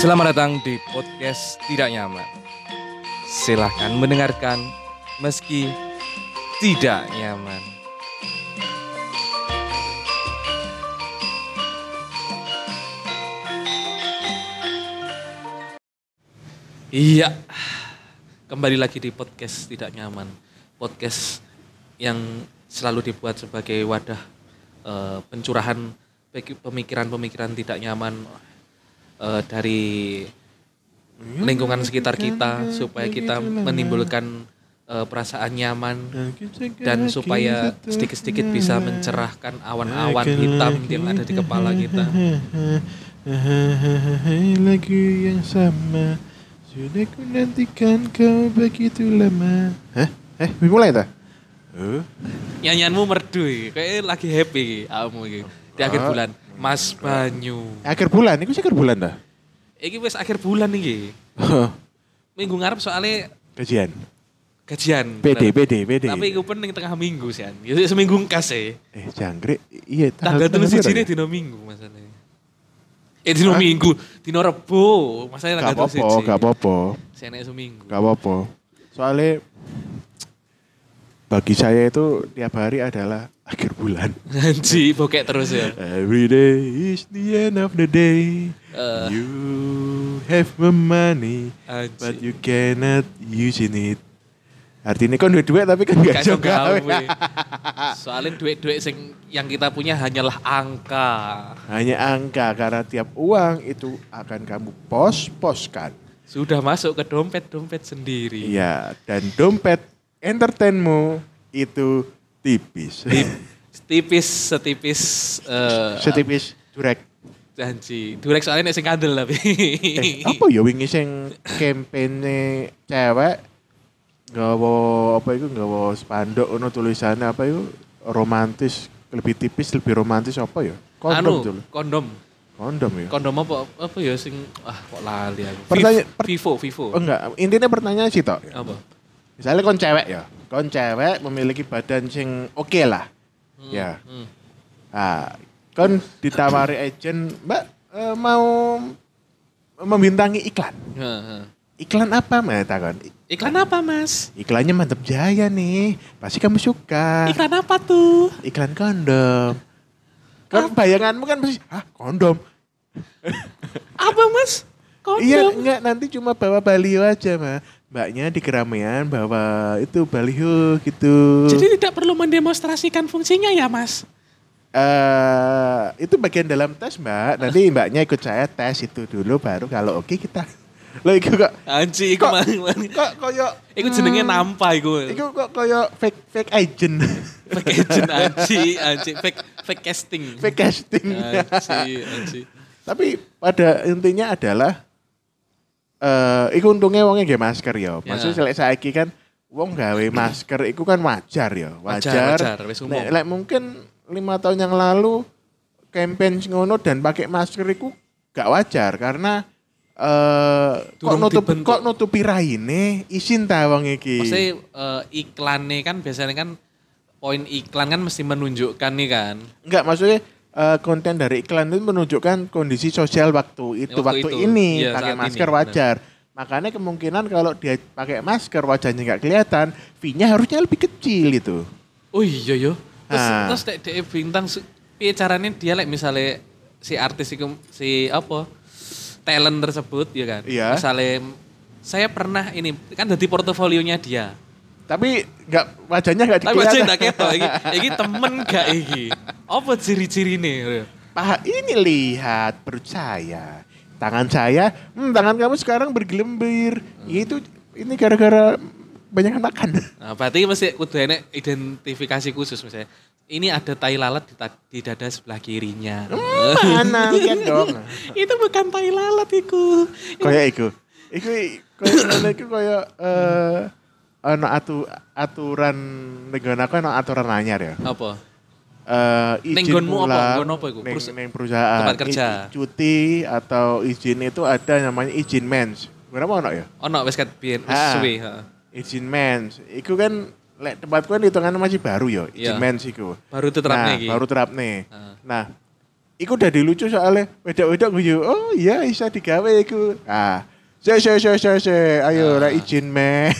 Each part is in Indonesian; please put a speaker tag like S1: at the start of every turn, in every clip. S1: Selamat datang di podcast Tidak Nyaman. Silahkan mendengarkan meski tidak
S2: ya,
S1: nyaman.
S2: Iya, kembali lagi di podcast tidak nyaman, podcast yang selalu dibuat sebagai wadah eh, pencurahan peki- pemikiran-pemikiran tidak nyaman eh, dari lingkungan sekitar kita supaya kita menimbulkan eh, perasaan nyaman dan supaya
S3: gitu.
S2: sedikit-sedikit
S3: Hmm.
S2: bisa mencerahkan awan-awan hitam gitu yang ada di kepala kita.
S3: Lagu yang sama Sudah ku nantikan kau begitu lama Hah? Eh, wis mulai ta? Eh,
S2: nyanyianmu merdu iki. kayaknya lagi happy iki awakmu iki di akhir
S3: Ah.
S2: bulan Mas Banyu
S3: akhir bulan, iku sih akhir bulan dah.
S2: iki wis akhir bulan iki minggu ngarep soalnya
S3: Kajian.
S2: gajian Bener.
S3: PD, PD, PD.
S2: tapi iku pen ning tengah minggu sih an ya seminggu ngkas e
S3: eh jangkrik, iya
S2: tanggal telu
S3: piro
S2: siji ne
S3: ya?
S2: dino minggu masalahnya eh dino minggu dino rebo masalahnya
S3: Gak
S2: tanggal telu
S3: apa-apa,
S2: siji
S3: gak apa-apa,
S2: Saya naik seminggu
S3: gak apa-apa. Soalnya bagi saya itu tiap hari adalah akhir bulan.
S2: Anji, bokek terus ya
S3: Every day is the end of the day.
S2: Eh.
S3: You have my money,
S2: Anji.
S3: but you cannot use it. Artinya kan duit-duit tapi kan gak
S2: Kacau
S3: iso gawe.
S2: Soalnya duit-duit sing yang kita punya hanyalah angka.
S3: Hanya angka karena tiap uang itu akan kamu pos-poskan.
S2: Sudah masuk ke dompet-dompet sendiri.
S3: Iya, dan dompet entertainmu itu tipis.
S2: Tipis setipis eh
S3: Setipis durek.
S2: janji. Durek soalnya nek sing kandel tapi.
S3: Eh, apa ya wingi sing kampanye cewek nggawa apa itu nggawa spanduk ono tulisannya apa itu romantis lebih tipis lebih romantis apa ya kondom
S2: anu,
S3: dulu
S2: kondom.
S3: kondom ya
S2: Kondom apa apa ya sing ah kok lali aku.
S3: Pertanya-
S2: Viv-
S3: per-
S2: Vivo, Vivo.
S3: oh, enggak intinya pertanyaan sih tok
S2: Apa?
S3: misalnya kon cewek ya kon cewek memiliki badan sing oke lah
S2: Hmm,
S3: ya
S2: hmm.
S3: ah kon ditawari agent mbak eh, mau membintangi iklan
S2: Heh, heh.
S3: iklan apa mbak takon
S2: Iklan apa, Mas?
S3: Iklannya mantep jaya nih, pasti kamu suka. Iklan,
S2: Iklan apa tuh?
S3: kondom. Kan bayanganmu kan pasti, ah kondom.
S2: Apa, Mas? Kondom.
S3: Iya enggak nanti cuma bawa baliho aja mah. Mbaknya di keramaian bawa itu baliho gitu.
S2: Jadi tidak perlu mendemonstrasikan fungsinya ya, Mas?
S3: Eh, itu bagian dalam tes mbak. Nanti mbaknya ikut saya tes itu dulu baru kalau oke kita. Lo iku kok
S2: Anji, iku
S3: kok
S2: mah.
S3: kok koyo Hmm,
S2: Iku jenenge nampa iku.
S3: iku kok koyo fake fake agent.
S2: Fake agent anji, anji, fake fake casting.
S3: fake casting.
S2: Ya, Anji, anji.
S3: Tapi pada intinya adalah eh iku untungnya wongnya nggih masker ya. Maksudnya lek saiki kan wong gawe masker iku kan wajar ya, wajar.
S2: Wajar, wajar, wis umum.
S3: Lek- lek mungkin lima tahun yang lalu campaign sing ngono dan pakai masker iku gak wajar karena eh kok
S2: Durung
S3: nutup
S2: dibentuk.
S3: kok nutupi raine isin ta wong iki.
S2: Maksudnya eh, iklannya kan biasanya kan poin iklan kan mesti menunjukkan nih kan.
S3: Enggak, maksudnya eh, konten dari iklan itu menunjukkan kondisi sosial waktu itu,
S2: Waktu
S3: waktu,
S2: itu.
S3: ini
S2: Iya,
S3: pakai
S2: saat ini,
S3: masker
S2: benar.
S3: wajar. Makanya kemungkinan kalau dia pakai masker wajahnya nggak kelihatan, V-nya harusnya lebih kecil itu.
S2: Oh iya yo. Terus
S3: Ah.
S2: terus dek dek bintang su- piye carane dia like misalnya si artis iku si apa talent tersebut ya kan.
S3: Iya.
S2: Misalnya saya pernah ini kan jadi portofolionya dia.
S3: Tapi nggak wajahnya nggak
S2: Tapi aja
S3: kelihatan.
S2: ndak ketok iki. Iki temen gak iki. Apa ciri-cirine?
S3: Paha ini lihat perut saya, tangan saya, hmm, tangan kamu sekarang bergelembir.
S2: Hmm.
S3: Itu ini gara-gara banyak makan.
S2: Nah, berarti mesti kudu enek identifikasi khusus misalnya. Ini ada tai lalat di, ta- di dada sebelah kirinya.
S3: Mana lihat Hmm, iya dong.
S2: itu bukan tai lalat iku.
S3: kaya iku. Iku kaya ngono iku kaya eh ana atu, aturan negara aku ana aturan anyar ya.
S2: Apa?
S3: Eh
S2: Ning
S3: izin
S2: nggonmu apa?
S3: pulang,
S2: Nggon apa iku?
S3: ning-
S2: Perus-
S3: ning perusahaan.
S2: tempat kerja.
S3: I- cuti atau izin itu ada namanya izin mens. Berapa ono ya?
S2: Ono wis kat biyen wis
S3: Ah.
S2: suwe, heeh.
S3: Izin mens. Iku kan lek tempatku kan hitungannya masih baru ya,
S2: Iya.
S3: izin mens iku.
S2: Baru diterapne
S3: nah,
S2: iki.
S3: Baru terapne.
S2: Ah.
S3: Nah, Iku udah lucu soalnya wedok-wedok guyu. Oh iya bisa digawe iku. Ah. Se se se se se.
S2: Ah.
S3: Ayo ora izin men.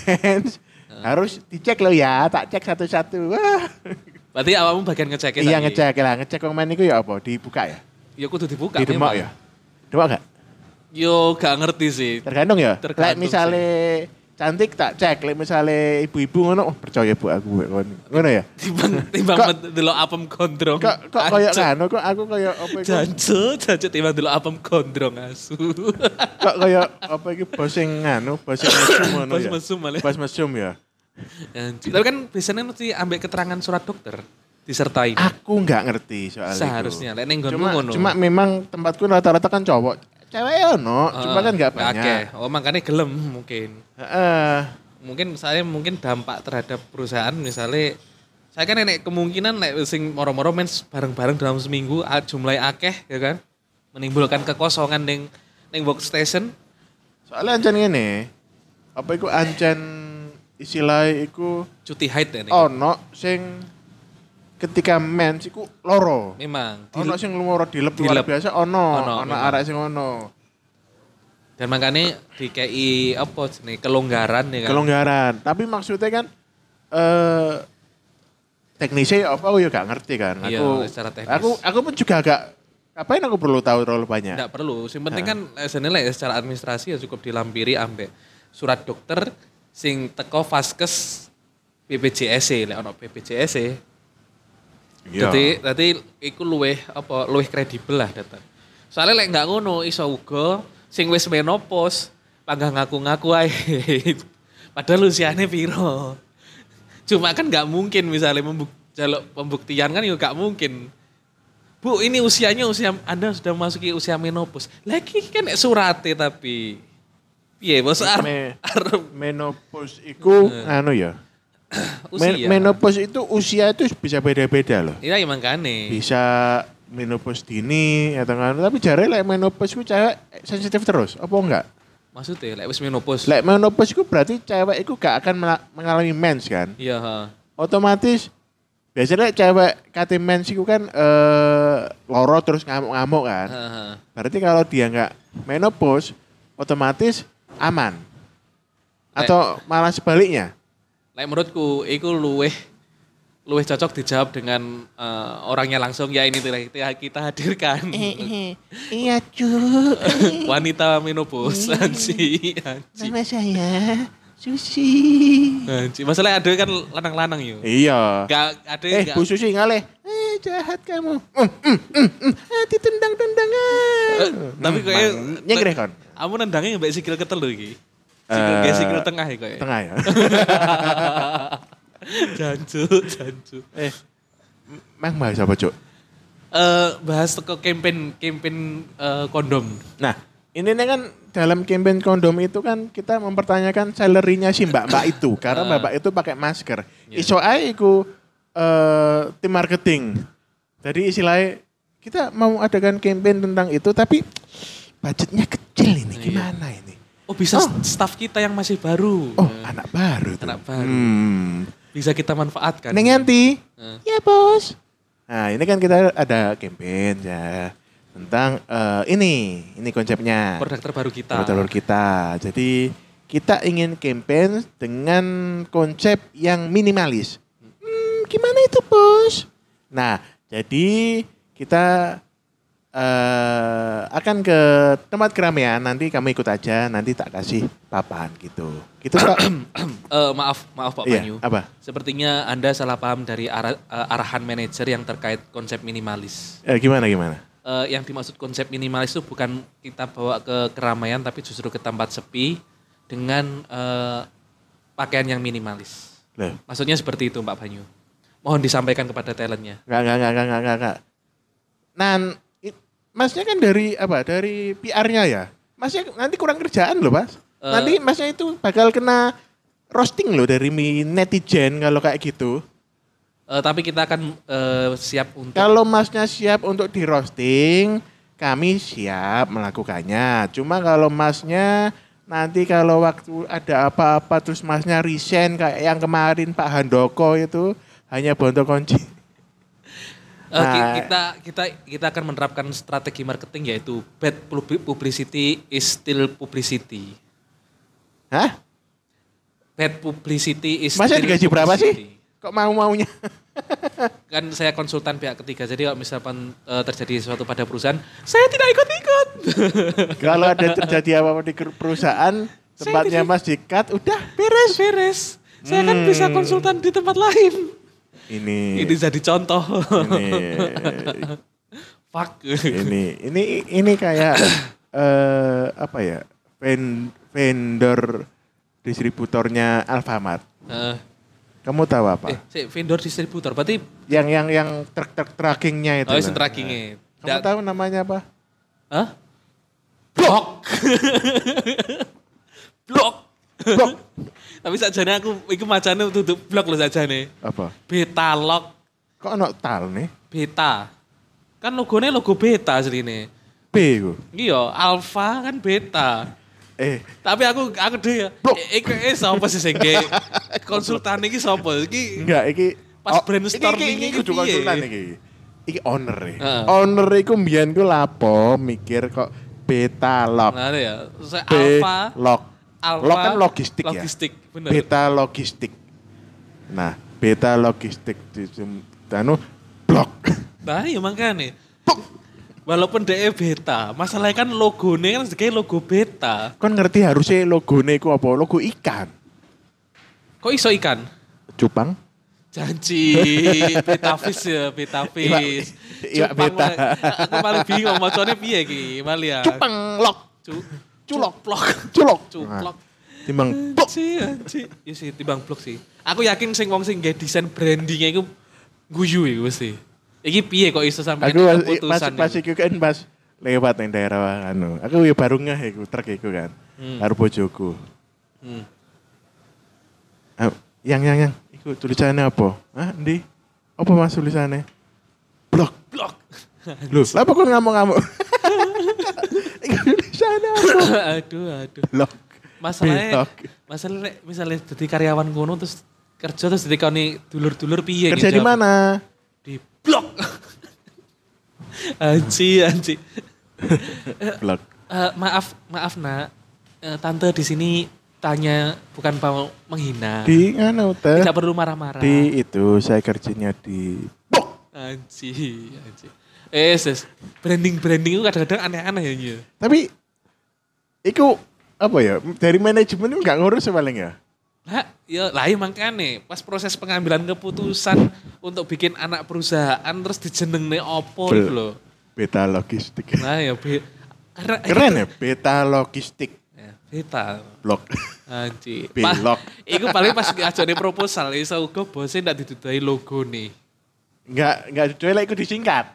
S3: Harus dicek lo ya, tak cek satu-satu. Wah.
S2: Berarti awakmu bagian ngecek
S3: Iya ngecek lah, ngecek wong main iku ya apa? Dibuka ya?
S2: Ya kudu dibuka.
S3: Di demok
S2: memang.
S3: ya? Demok gak?
S2: Yo gak ngerti sih.
S3: Tergantung ya.
S2: Tergantung
S3: Lek misale cantik tak cek, lek misale ibu-ibu ngono, oh, percaya bu aku wek kon. Ngono ya.
S2: Timbang timbang
S3: Kok-
S2: met- delok apem gondrong.
S3: Kok kok koyo
S2: Jancuk.
S3: ngono kok aku koyo apa iku?
S2: Jancuk, jancuk timbang delok apem gondrong asu.
S3: Kok koyo apa iku bos sing nganu, bos sing mesum ngono
S2: Bos
S3: ya.
S2: mesum malah.
S3: Bos mesum ya.
S2: Jancuk. Tapi kan biasanya mesti ambek keterangan surat dokter disertai.
S3: Aku nggak ngerti soal
S2: Seharusnya
S3: itu.
S2: lek ning nggonmu
S3: Cuma,
S2: ngono.
S3: cuma memang tempatku rata-rata kan cowok. Cewek ya no,
S2: Ah,
S3: cuma kan nggak
S2: Nggak akeh.
S3: banyak.
S2: Eh, Oh makanya gelem mungkin.
S3: Heeh.
S2: Mungkin saya mungkin dampak terhadap perusahaan misalnya saya kan enek kemungkinan nek sing moro-moro mens bareng-bareng dalam seminggu a- jumlahnya akeh ya kan menimbulkan kekosongan ning ning workstation
S3: Soalnya ancen ngene. Apa iku ancen istilah iku
S2: cuti haid ya ning.
S3: ono sing ketika mens iku loro.
S2: Memang. Di-
S3: Ono sing loro dilep luar
S2: dilep.
S3: biasa ono,
S2: Ono,
S3: ono
S2: memang.
S3: arek sing ono.
S2: Dan makanya DKI apa nih kelonggaran ya kan.
S3: Kelonggaran. Tapi maksudnya kan eh teknisnya ya apa aku ya gak ngerti kan.
S2: Iya,
S3: Aku
S2: secara teknis.
S3: aku aku pun juga agak ngapain aku perlu tahu terlalu banyak.
S2: Nggak perlu. Yang penting kan senilai secara administrasi ya cukup dilampiri ambek surat dokter sing teko vaskes BPJS lek ono BPJS e.
S3: Iya.
S2: Dadi dadi iku luweh apa luweh kredibel lah data. Soalnya lek nggak ngono iso uga sing wis menopause panggah ngaku-ngaku ae. Padahal usianya piro. Cuma kan nggak mungkin misalnya membuk jaluk pembuktian kan juga nggak mungkin. Bu, ini usianya usia Anda sudah masuki usia menopause. Lagi kan nek surate tapi piye bos
S3: Me-
S2: arep
S3: menopause iku anu ya. Men-
S2: Iya. usia.
S3: menopause itu usia itu bisa beda-beda loh.
S2: Iya ya makane.
S3: Bisa menopause dini atau kan tapi jare lek menopause ku cewek sensitif terus apa enggak?
S2: Maksudnya lek wis menopause.
S3: Lek menopause iku berarti cewek iku gak akan mela- mengalami mens kan?
S2: Iya, ha.
S3: Otomatis biasanya cewek kate mens iku kan eh loro terus ngamuk-ngamuk kan.
S2: Ha, ha.
S3: Berarti kalau dia nggak menopause otomatis aman. Atau malah sebaliknya.
S2: Lek menurutku iku luweh luweh cocok dijawab dengan eh, orangnya langsung ya ini telah kita, kita hadirkan
S3: Eh,
S4: Iya cu,
S2: wanita menopause anji anji
S4: nama saya Susi.
S2: anji masalah ada kan lanang-lanang yo
S3: Iya.
S2: gak ada
S3: Eh,
S2: gak-
S3: Bu Susi ngalih. Eh, jahat kamu. Mm, mm, mm, mm. Ah, ditendang-tendang. ah.
S2: Eh, tapi kayak
S3: Mang, nyegreh kon.
S2: Kamu nendangnya mbak sikil ketelu iki. Sikil
S3: Eh,
S2: kayak sikil tengah ya kayak.
S3: Tengah ya.
S2: jancu, jancu.
S3: eh, Mang bahas apa, Cuk?
S2: Eh bahas teko campaign campaign eh, kondom.
S3: Nah, ini nih kan dalam campaign kondom itu kan kita mempertanyakan salary-nya si mbak-mbak itu. Karena mbak-mbak itu pakai masker.
S2: Ah. Iya.
S3: Iso ae iku eh, tim marketing. Jadi istilahnya kita mau adakan campaign tentang itu tapi budgetnya kecil ini.
S2: Iya.
S3: Gimana ini?
S2: Oh bisa staff kita yang masih baru.
S3: Oh, anak baru tuh.
S2: Hmm. Anak baru. Kan
S3: Hmm.
S2: Bisa kita manfaatkan.
S3: Neng Yanti.
S2: Eh.
S3: Ya, Bos. Nah, ini kan kita ada campaign ya tentang eh, ini. Ini konsepnya.
S2: Produk terbaru kita.
S3: telur kita. Jadi kita ingin campaign dengan konsep yang minimalis. Hmm, gimana itu bos? Nah, jadi kita eh, akan ke tempat keramaian. Nanti kamu ikut aja. Nanti tak kasih papan gitu. Gitu Pak.
S2: Eh, maaf, maaf Pak
S3: Iya,
S2: Panyu.
S3: apa?
S2: Sepertinya Anda salah paham dari ara- eh, arahan manajer yang terkait konsep minimalis.
S3: Eh, gimana gimana?
S2: Eh, yang dimaksud konsep minimalis itu bukan kita bawa ke keramaian tapi justru ke tempat sepi dengan eh, pakaian yang minimalis.
S3: Loh,
S2: Maksudnya seperti itu Pak Banyu. Mohon disampaikan kepada talentnya.
S3: Enggak, enggak, enggak, enggak, enggak, enggak. Nan, i- masnya kan dari apa? Dari PR-nya ya. Masnya nanti kurang kerjaan loh, Mas.
S2: Eh.
S3: nanti masnya itu bakal kena roasting loh dari mi- netizen kalau kayak gitu.
S2: Eh, tapi kita akan eh, siap untuk
S3: Kalau masnya siap untuk di roasting, kami siap melakukannya. Cuma kalau masnya nanti kalau waktu ada apa-apa terus masnya resign kayak yang kemarin Pak Handoko itu hanya bonto kunci.
S2: eh Eh, ki-
S3: Nah.
S2: kita kita kita akan menerapkan strategi marketing yaitu bad pub- publicity is still publicity.
S3: Hah?
S2: Bad publicity is
S3: Masa
S2: still
S3: digaji berapa
S2: publicity.
S3: sih? Kok mau-maunya?
S2: Kan saya konsultan pihak ketiga. Jadi kalau misalkan eh, terjadi sesuatu pada perusahaan, saya tidak ikut-ikut.
S3: Kalau ada terjadi apa-apa di ker- perusahaan, tempatnya Mas dikat, udah beres. Hmm.
S2: Beres. Saya kan bisa konsultan di tempat lain.
S3: Ini,
S2: Ini jadi contoh.
S3: Iya. ini,
S2: Fuck.
S3: ini, ini, ini kayak eh apa ya? Ven- vendor distributornya Alfamart.
S2: Eh,
S3: Kamu tahu apa?
S2: eh, si vendor distributor. Berarti
S3: Yang yang yang truk-truk trackingnya itu.
S2: oh,
S3: loh.
S2: itu trackingnya.
S3: Kamu
S2: Da-
S3: tahu namanya apa?
S2: Hah? Blok. blok.
S3: Blok.
S2: Tapi sajane aku iku macane tutup blok lho sajane.
S3: Apa?
S2: Beta lock,
S3: Kok ono tal nih?
S2: beta. Kan logone logo beta asline.
S3: B iku.
S2: Iya, alfa kan beta.
S3: Eh,
S2: Tapi aku aku dhewe ya.
S3: Blok.
S2: eh, Iku eh sapa sih sing dhek? konsultan iki sapa? Iki
S3: enggak iki
S2: Pas brainstorming
S3: iki- iki
S2: iki
S3: kudu
S2: piye?
S3: konsultan iki. Iki owner e.
S2: Heeh.
S3: Owner iku mbiyen ku lapo mikir kok beta lock.
S2: Nah, ya. Saya
S3: B
S2: alfa,
S3: lock.
S2: alfa.
S3: Lock kan logistik,
S2: Logistik,
S3: ya.
S2: bener.
S3: Beta logistik. Nah, beta logistik di anu blok.
S2: Nah, ya makanya. Walaupun DE beta, masalahnya kan logonya kan sebagai logo beta.
S3: Kon kan ngerti harusnya logone iku apa? Logo ikan.
S2: Kok iso ikan?
S3: Cupang.
S2: Nah. Janji, beta fish ya, beta fish.
S3: Iwak- iwak
S2: Cupang
S3: beta.
S2: lah. Aku paling bingung, maconnya piye ki, malia.
S3: Cupang lock.
S2: Cu-
S3: Culok.
S2: Cuplok.
S3: Culok.
S2: Cuplok.
S3: Nah, timbang blok.
S2: Janji, janji. Iya sih, timbang blok sih. Aku yakin sing wong sing nggak desain brandingnya itu guyu ya mesti. Iki piye kok iso sampai
S3: Aku pas- pas
S2: keputusan
S3: pas
S2: ini?
S3: iku kan pas lewat ning daerah anu. Aku ya baru ngeh iku truk iku kan. Karo bojoku.
S2: Hmm.
S3: Ah, yang yang yang iku tulisannya apa? Hah, ndi? Apa Mas tulisannya? Blok.
S2: Blok.
S3: Lho, lha apa kok ngamuk-ngamuk? iku tulisannya apa?
S2: aduh, aduh.
S3: Blok.
S2: masalahnya
S3: Blok.
S2: masalah nek misalnya jadi karyawan kono terus kerja terus jadi dulur-dulur piye
S3: Kerja
S2: gitu.
S3: di mana?
S2: di blok anci anci
S3: Blok.
S2: Eh, maaf maaf nak Eh, tante di sini tanya bukan mau menghina
S3: Di anu teh.
S2: tidak perlu marah-marah
S3: Di itu saya kerjanya di blok.
S2: anci anci eh sis branding branding itu kadang-kadang aneh-aneh ya Nyi.
S3: Tapi iku apa ya? Dari manajemen nggak ngurus paling ya?
S2: Lah, ya lah iya makanya pas proses pengambilan keputusan untuk bikin anak perusahaan terus dijenengne opo
S3: Bel-
S2: gitu loh.
S3: Beta logistik.
S2: Nah, ya be, karena
S3: Keren ya, beta logistik
S2: Ya, beta.
S3: blok.
S2: Anji. Pas,
S3: Belok.
S2: iku paling pas diajone proposal ya, iso uga bose ndak didudai logo nih.
S3: Nggak nggak cuek iku disingkat.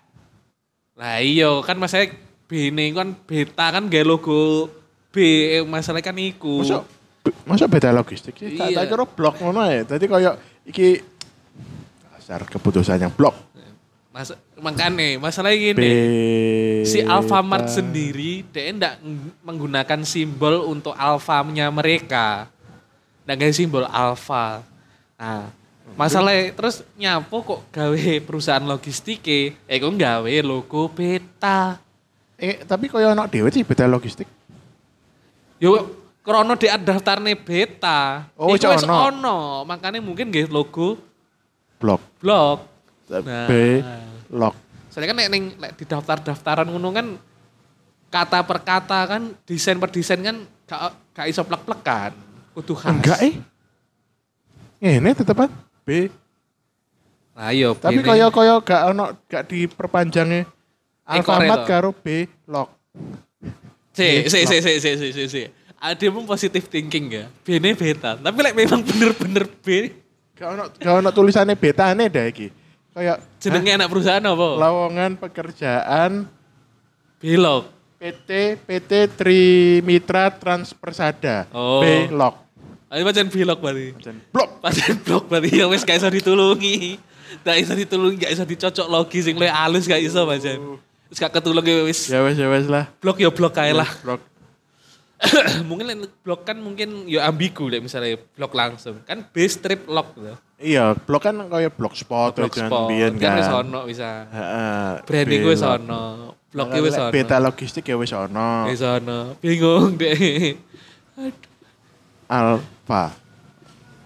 S2: Lah iya kan masanya B ini kan beta kan gak logo B eh, masalahnya kan iku.
S3: Masa be- masa beta logistik sih? Tak
S2: Iya.
S3: tak kira blok ngono ya. Tadi koyo iki dasar keputusan yang blok.
S2: Mas, makanya masalahnya gini.
S3: Be-
S2: si Alfamart sendiri dia enggak menggunakan simbol untuk alfamnya mereka. Enggak kayak simbol alfa. Nah, masalahnya terus nyapo kok gawe perusahaan logistik eh kok gawe logo beta.
S3: Eh, tapi koyo anak dhewe sih beta logistik.
S2: Yo krono dia daftarnya beta.
S3: Oh,
S2: Iku wis
S3: ono.
S2: ono. Makanya mungkin nggih logo
S3: Blok.
S2: blog. Nah.
S3: B lok.
S2: Soalnya kan nek ning lek di daftar-daftaran ngono kan kata per kata kan desain per desain kan gak, gak iso plek-plekan. Kudu khas.
S3: Enggak eh. Ini tetepan B
S2: Nah, iya, pilih.
S3: Tapi kaya kaya gak ono gak diperpanjangnya
S2: Korea
S3: Alfamart
S2: to.
S3: karo B lock. Iya,
S2: si si si si si si si. si. Ada pun positive thinking ya. Bene beta. Tapi lek memang bener-bener B
S3: Gak ono gak ono tulisannya betane dah iki. Kaya
S2: jenenge anak perusahaan
S3: "Hah?
S2: apa?
S3: lowongan pekerjaan
S2: Belok.
S3: PT PT Trimitra Transpersada
S2: Oh.
S3: B lock.
S2: Ayo pancen belok berarti.
S3: Dan blok.
S2: Pancen blok berarti ya wis gak iso ditulungi. Gak iso ditulungi, gak iso dicocok logi sing luwih alus gak iso pancen. Wis gak ketulung ya wis.
S3: Ya wes ya wes lah.
S2: Blok ya blok kae lah.
S3: Blok.
S2: mungkin lain blog kan mungkin ya ambigu lek misalnya blog langsung kan base trip log gitu.
S3: Iya, blog kan kayak blogspot
S2: Blog
S3: jangan
S2: spot.
S3: biyen
S2: Kan
S3: kan.
S2: wis ono bisa.
S3: Heeh.
S2: Brand gue
S3: Belok.
S2: sono, blog
S3: Lek
S2: gue sono.
S3: Beta logistik ya wis ono.
S2: e Wis ono. Bingung deh.
S3: Alfa.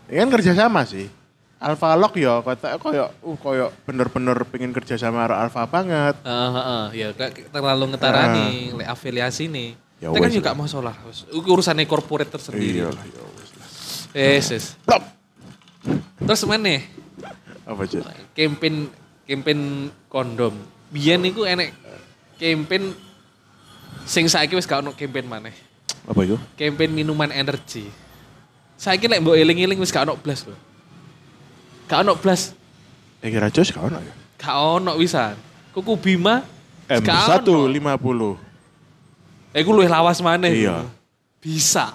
S3: Ini kan kerja sama sih. Alfa log ya, kata koyo uh koyo bener-bener pengen kerja sama karo Alfa banget.
S2: Heeh, heeh. ya kayak terlalu ngetarani lek afiliasi nih.
S3: Ya
S2: Kita kan
S3: wes
S2: juga masalah. wes. Urusannya corporate tersendiri.
S3: lah, ya wis lah.
S2: Yes, yes.
S3: Blok.
S2: Terus mana nih?
S3: Apa sih?
S2: Campaign campaign kondom. Biyen niku enek campaign sing saiki wis gak ono campaign maneh.
S3: Apa itu?
S2: Campaign minuman energi. Saiki lek mbok eling-eling wis gak ono blas lho. Gak ono blas,
S3: Eh kira jos gak ono ya.
S2: gak ono wisan. Kuku Bima wis gak
S3: M1
S2: ono.
S3: 50.
S2: Eh iku luwih lawas maneh.
S3: Iya.
S2: Bisa.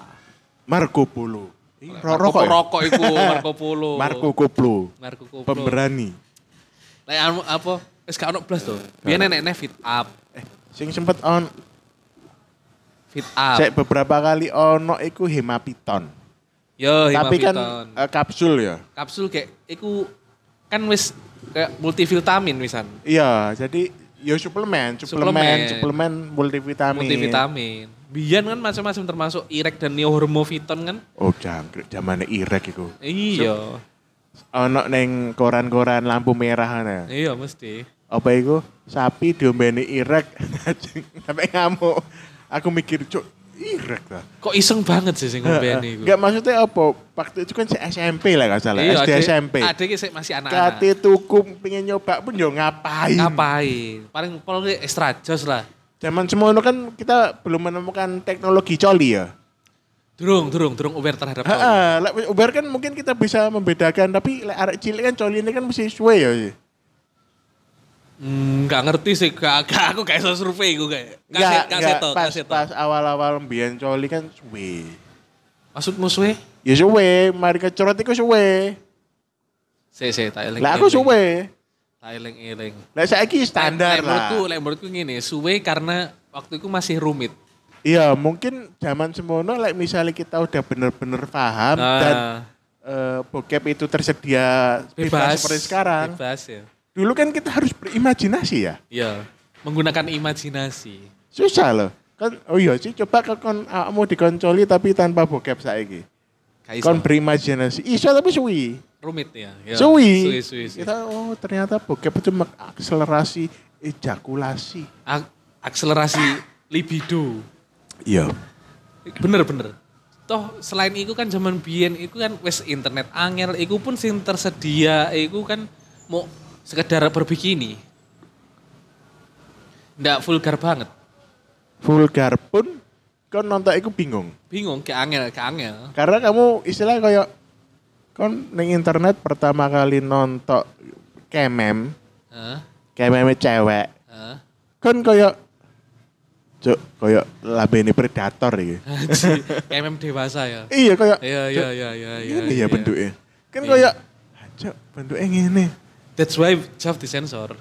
S3: Marco Polo. Ini ro-
S2: Marco-
S3: Rokok ya?
S2: Rokok iku Marco Polo.
S3: Marco Koplo.
S2: Marco Polo.
S3: Pemberani.
S2: Lek anu- apa wis gak ono blas to.
S3: Iya.
S2: Biyen enek-enek fit up.
S3: Eh, sing sempet on
S2: Fit up.
S3: cek beberapa kali ono iku hemapiton.
S2: Yo,
S3: Tapi kan
S2: Hemaviton.
S3: eh, kapsul ya.
S2: kapsul kayak iku kan wis kayak multivitamin wisan
S3: Iya, jadi yo suplemen,
S2: Suplemen.
S3: suplemen, suplemen multivitamin.
S2: multivitamin biyen kan macam-macam termasuk irek dan neohormoviton kan
S3: Oh, jangkrik zamane Irek iku.
S2: iya
S3: Ono ning koran-koran lampu merah ana.
S2: iya mesti
S3: Apa iku? Sapi diombeni Irek sampai ngamuk. Aku mikir, cuk, Irek lah.
S2: kok iseng banget sih sing ngombeni iku
S3: Enggak maksudnya apa? Waktu itu kan si SMP lah gak salah, SD
S2: adek-
S3: SMP.
S2: adek iki Iya, sik masih anak-anak
S3: Kate tuku pengen nyoba pun yo ngapain?
S2: ngapain paling pol ki extra jos lah
S3: Zaman semua itu kan kita belum menemukan teknologi coli ya.
S2: durung durung durung aware terhadap coli.
S3: Heeh, lek Uber kan mungkin kita bisa membedakan, tapi lek arek cilik kan coli ini kan mesti suwe ya.
S2: Hmm, nggak ngerti sih gak, gak- aku gak iso survei iku kayak
S3: Enggak, enggak,
S2: kaseto
S3: Ya, pas,
S2: kaseto
S3: pas awal-awal mbiyen coli kan suwe.
S2: maksudmu suwe
S3: Ya suwe, mari kecerot iku suwe.
S2: sik sik tak eling
S3: Lah aku suwe.
S2: tak eling-eling
S3: Lek saiki
S2: Lek- lek
S3: standar
S2: Menurutku,
S3: lah.
S2: lek menurutku gini, suwe karena waktu itu masih rumit.
S3: Iya, mungkin zaman semono lek misalnya kita udah bener-bener paham
S2: Nah,
S3: dan eh, bokep itu tersedia bebas, seperti sekarang.
S2: Bebas ya.
S3: Dulu kan kita harus berimajinasi ya.
S2: Iya, menggunakan imajinasi.
S3: Susah loh. Kan oh iya sih coba ke kon awakmu dikoncoli tapi tanpa bokep saiki.
S2: Kayak
S3: Kon berimajinasi. Iso tapi suwi.
S2: rumit ya. Iya. Suwi,
S3: Suwi.
S2: suwi, suwi.
S3: Kita oh ternyata bokep itu mengakselerasi ejakulasi.
S2: Ak- akselerasi libido.
S3: Iya.
S2: Bener, bener. Toh selain itu kan zaman biyen itu kan wes internet angel, itu pun sing tersedia, itu kan mau sekedar berbikini. Ndak vulgar banget.
S3: Vulgar pun kon nonton iku bingung.
S2: Bingung, kayak angel, kayak angel.
S3: Karena kamu istilah kayak kon ning internet pertama kali nonton kemem,
S2: Hah?
S3: kememe e cewek.
S2: Hah?
S3: Kon kayak Cuk, kayak labene predator iki.
S2: Haji, MM dewasa ya.
S3: Iya kayak
S2: Iya, iya, iya, iya. iya,
S3: Ini
S2: iya.
S3: ya bentuknya. Kan
S2: Iya.
S3: kayak Cuk, bentuknya ngene.
S2: That's why Jav disensor.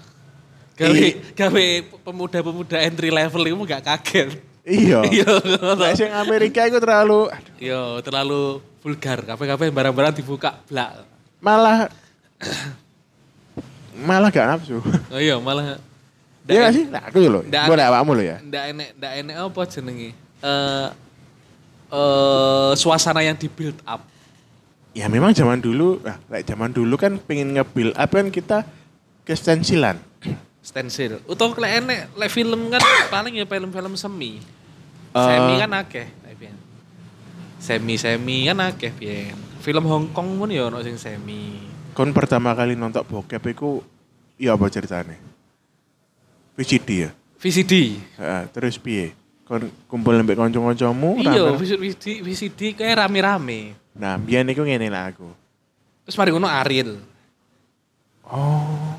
S2: Gawe,
S3: Iya.
S2: gawe pemuda-pemuda entry level itu gak kaget.
S3: Iya.
S2: Iya.
S3: Nah, sing Amerika itu terlalu aduh,
S2: Yo, Iya, terlalu vulgar. Kafe-kafe barang-barang dibuka blak.
S3: malah malah gak nafsu.
S2: Oh iya, malah ndak
S3: Iya gak
S2: en-
S3: sih? Nah, aku lho.
S2: Ndak-
S3: Gue nek awakmu lho ya.
S2: ndak enek, ndak enek apa jenenge? Eh eh suasana yang di build up.
S3: Ya memang zaman dulu, nah, lek zaman dulu kan pengen nge-build up kan kita kestensilan.
S2: Stensil. Utawa lek enek lek film kan paling ya film-film semi.
S3: Eh.
S2: semi kan akeh. lek biyen. Semi-semi kan akeh biyen. Film Hong Kong pun ya ono sing semi.
S3: Kon pertama kali nonton bokep iku ya apa ceritane? VCD ya.
S2: VCD.
S3: Heeh, terus piye? Kon kumpul mbek kanca-kancamu.
S2: Iya,
S3: Oh, rame-
S2: VCD, VCD kayak rame-rame.
S3: Nah, biyen iku ngene lah aku.
S2: Terus mari ngono Ariel.
S3: Oh,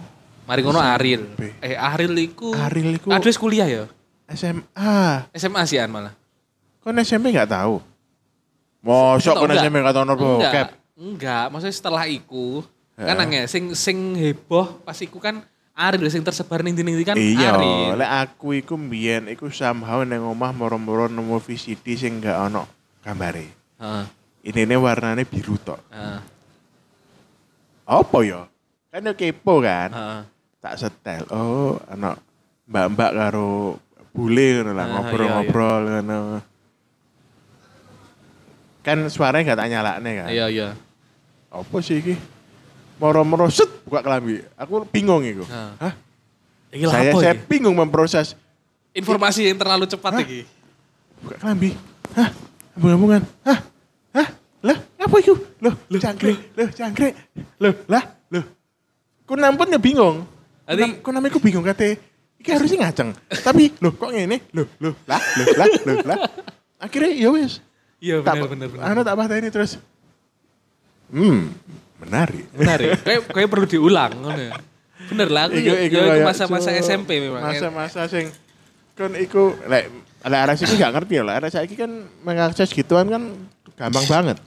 S2: Mari ngono Ariel.
S3: SMP.
S2: Eh Ariel iku
S3: Ariel iku-
S2: Aduh wis kuliah ya.
S3: SMA.
S2: SMA sih an malah.
S3: Kon SMP gak tahu? Mosok kon
S2: Enggak.
S3: SMP gak tau nopo
S2: Enggak,
S3: bokep.
S2: enggak. Maksudnya setelah iku
S3: Heeh.
S2: kan nangis. Sing sing heboh pas iku kan Aril sing tersebar ning ndi kan
S3: iya,
S2: Aril.
S3: lek aku iku mbiyen iku somehow nang omah moro-moro nemu VCD sing gak ono gambare.
S2: Heeh.
S3: Ini warnane biru tok.
S2: heeh,
S3: Apa ya? Kan yo kepo kan.
S2: heeh.
S3: Tak setel. Oh, ono mbak-mbak karo bule ngono lah
S2: Ah, iya.
S3: ngobrol-ngobrol ngono. Kan suaranya gak tak nyalakne kan.
S2: Iya iya.
S3: Apa sih iki? Moro-moro set buka kelambi. Aku bingung iku.
S2: Ah.
S3: Hah?
S2: Iki lah
S3: Saya
S2: apa
S3: saya
S2: iki?
S3: bingung memproses
S2: Informasi yang terlalu cepat
S3: Hah?
S2: iki.
S3: buka kelambi hah ambung-ambungan hah hah lah ngapa itu loh loh jangkrik loh jangkrik loh lah loh ku nampun ya bingung Ku
S2: Adi-
S3: nam- ku namanya ku bingung kate iki harusnya ngaceng tapi loh kok ngene loh loh lah loh lah loh lah akhirnya ya wis
S2: Iya
S3: tak
S2: benar benar benar.
S3: anu tak bahas ini terus hmm menarik
S2: Menarik. Kayak kayak perlu diulang ngono. ya. Bener lah aku.
S3: Iku-
S2: ya-
S3: iku
S2: ya, iku
S3: kayak
S2: masa-masa
S3: so-
S2: SMP memang. kan.
S3: Masa-masa sing kon iku lek lek arah sini gak ngerti ya lek arah saiki kan mengakses gituan kan gampang banget.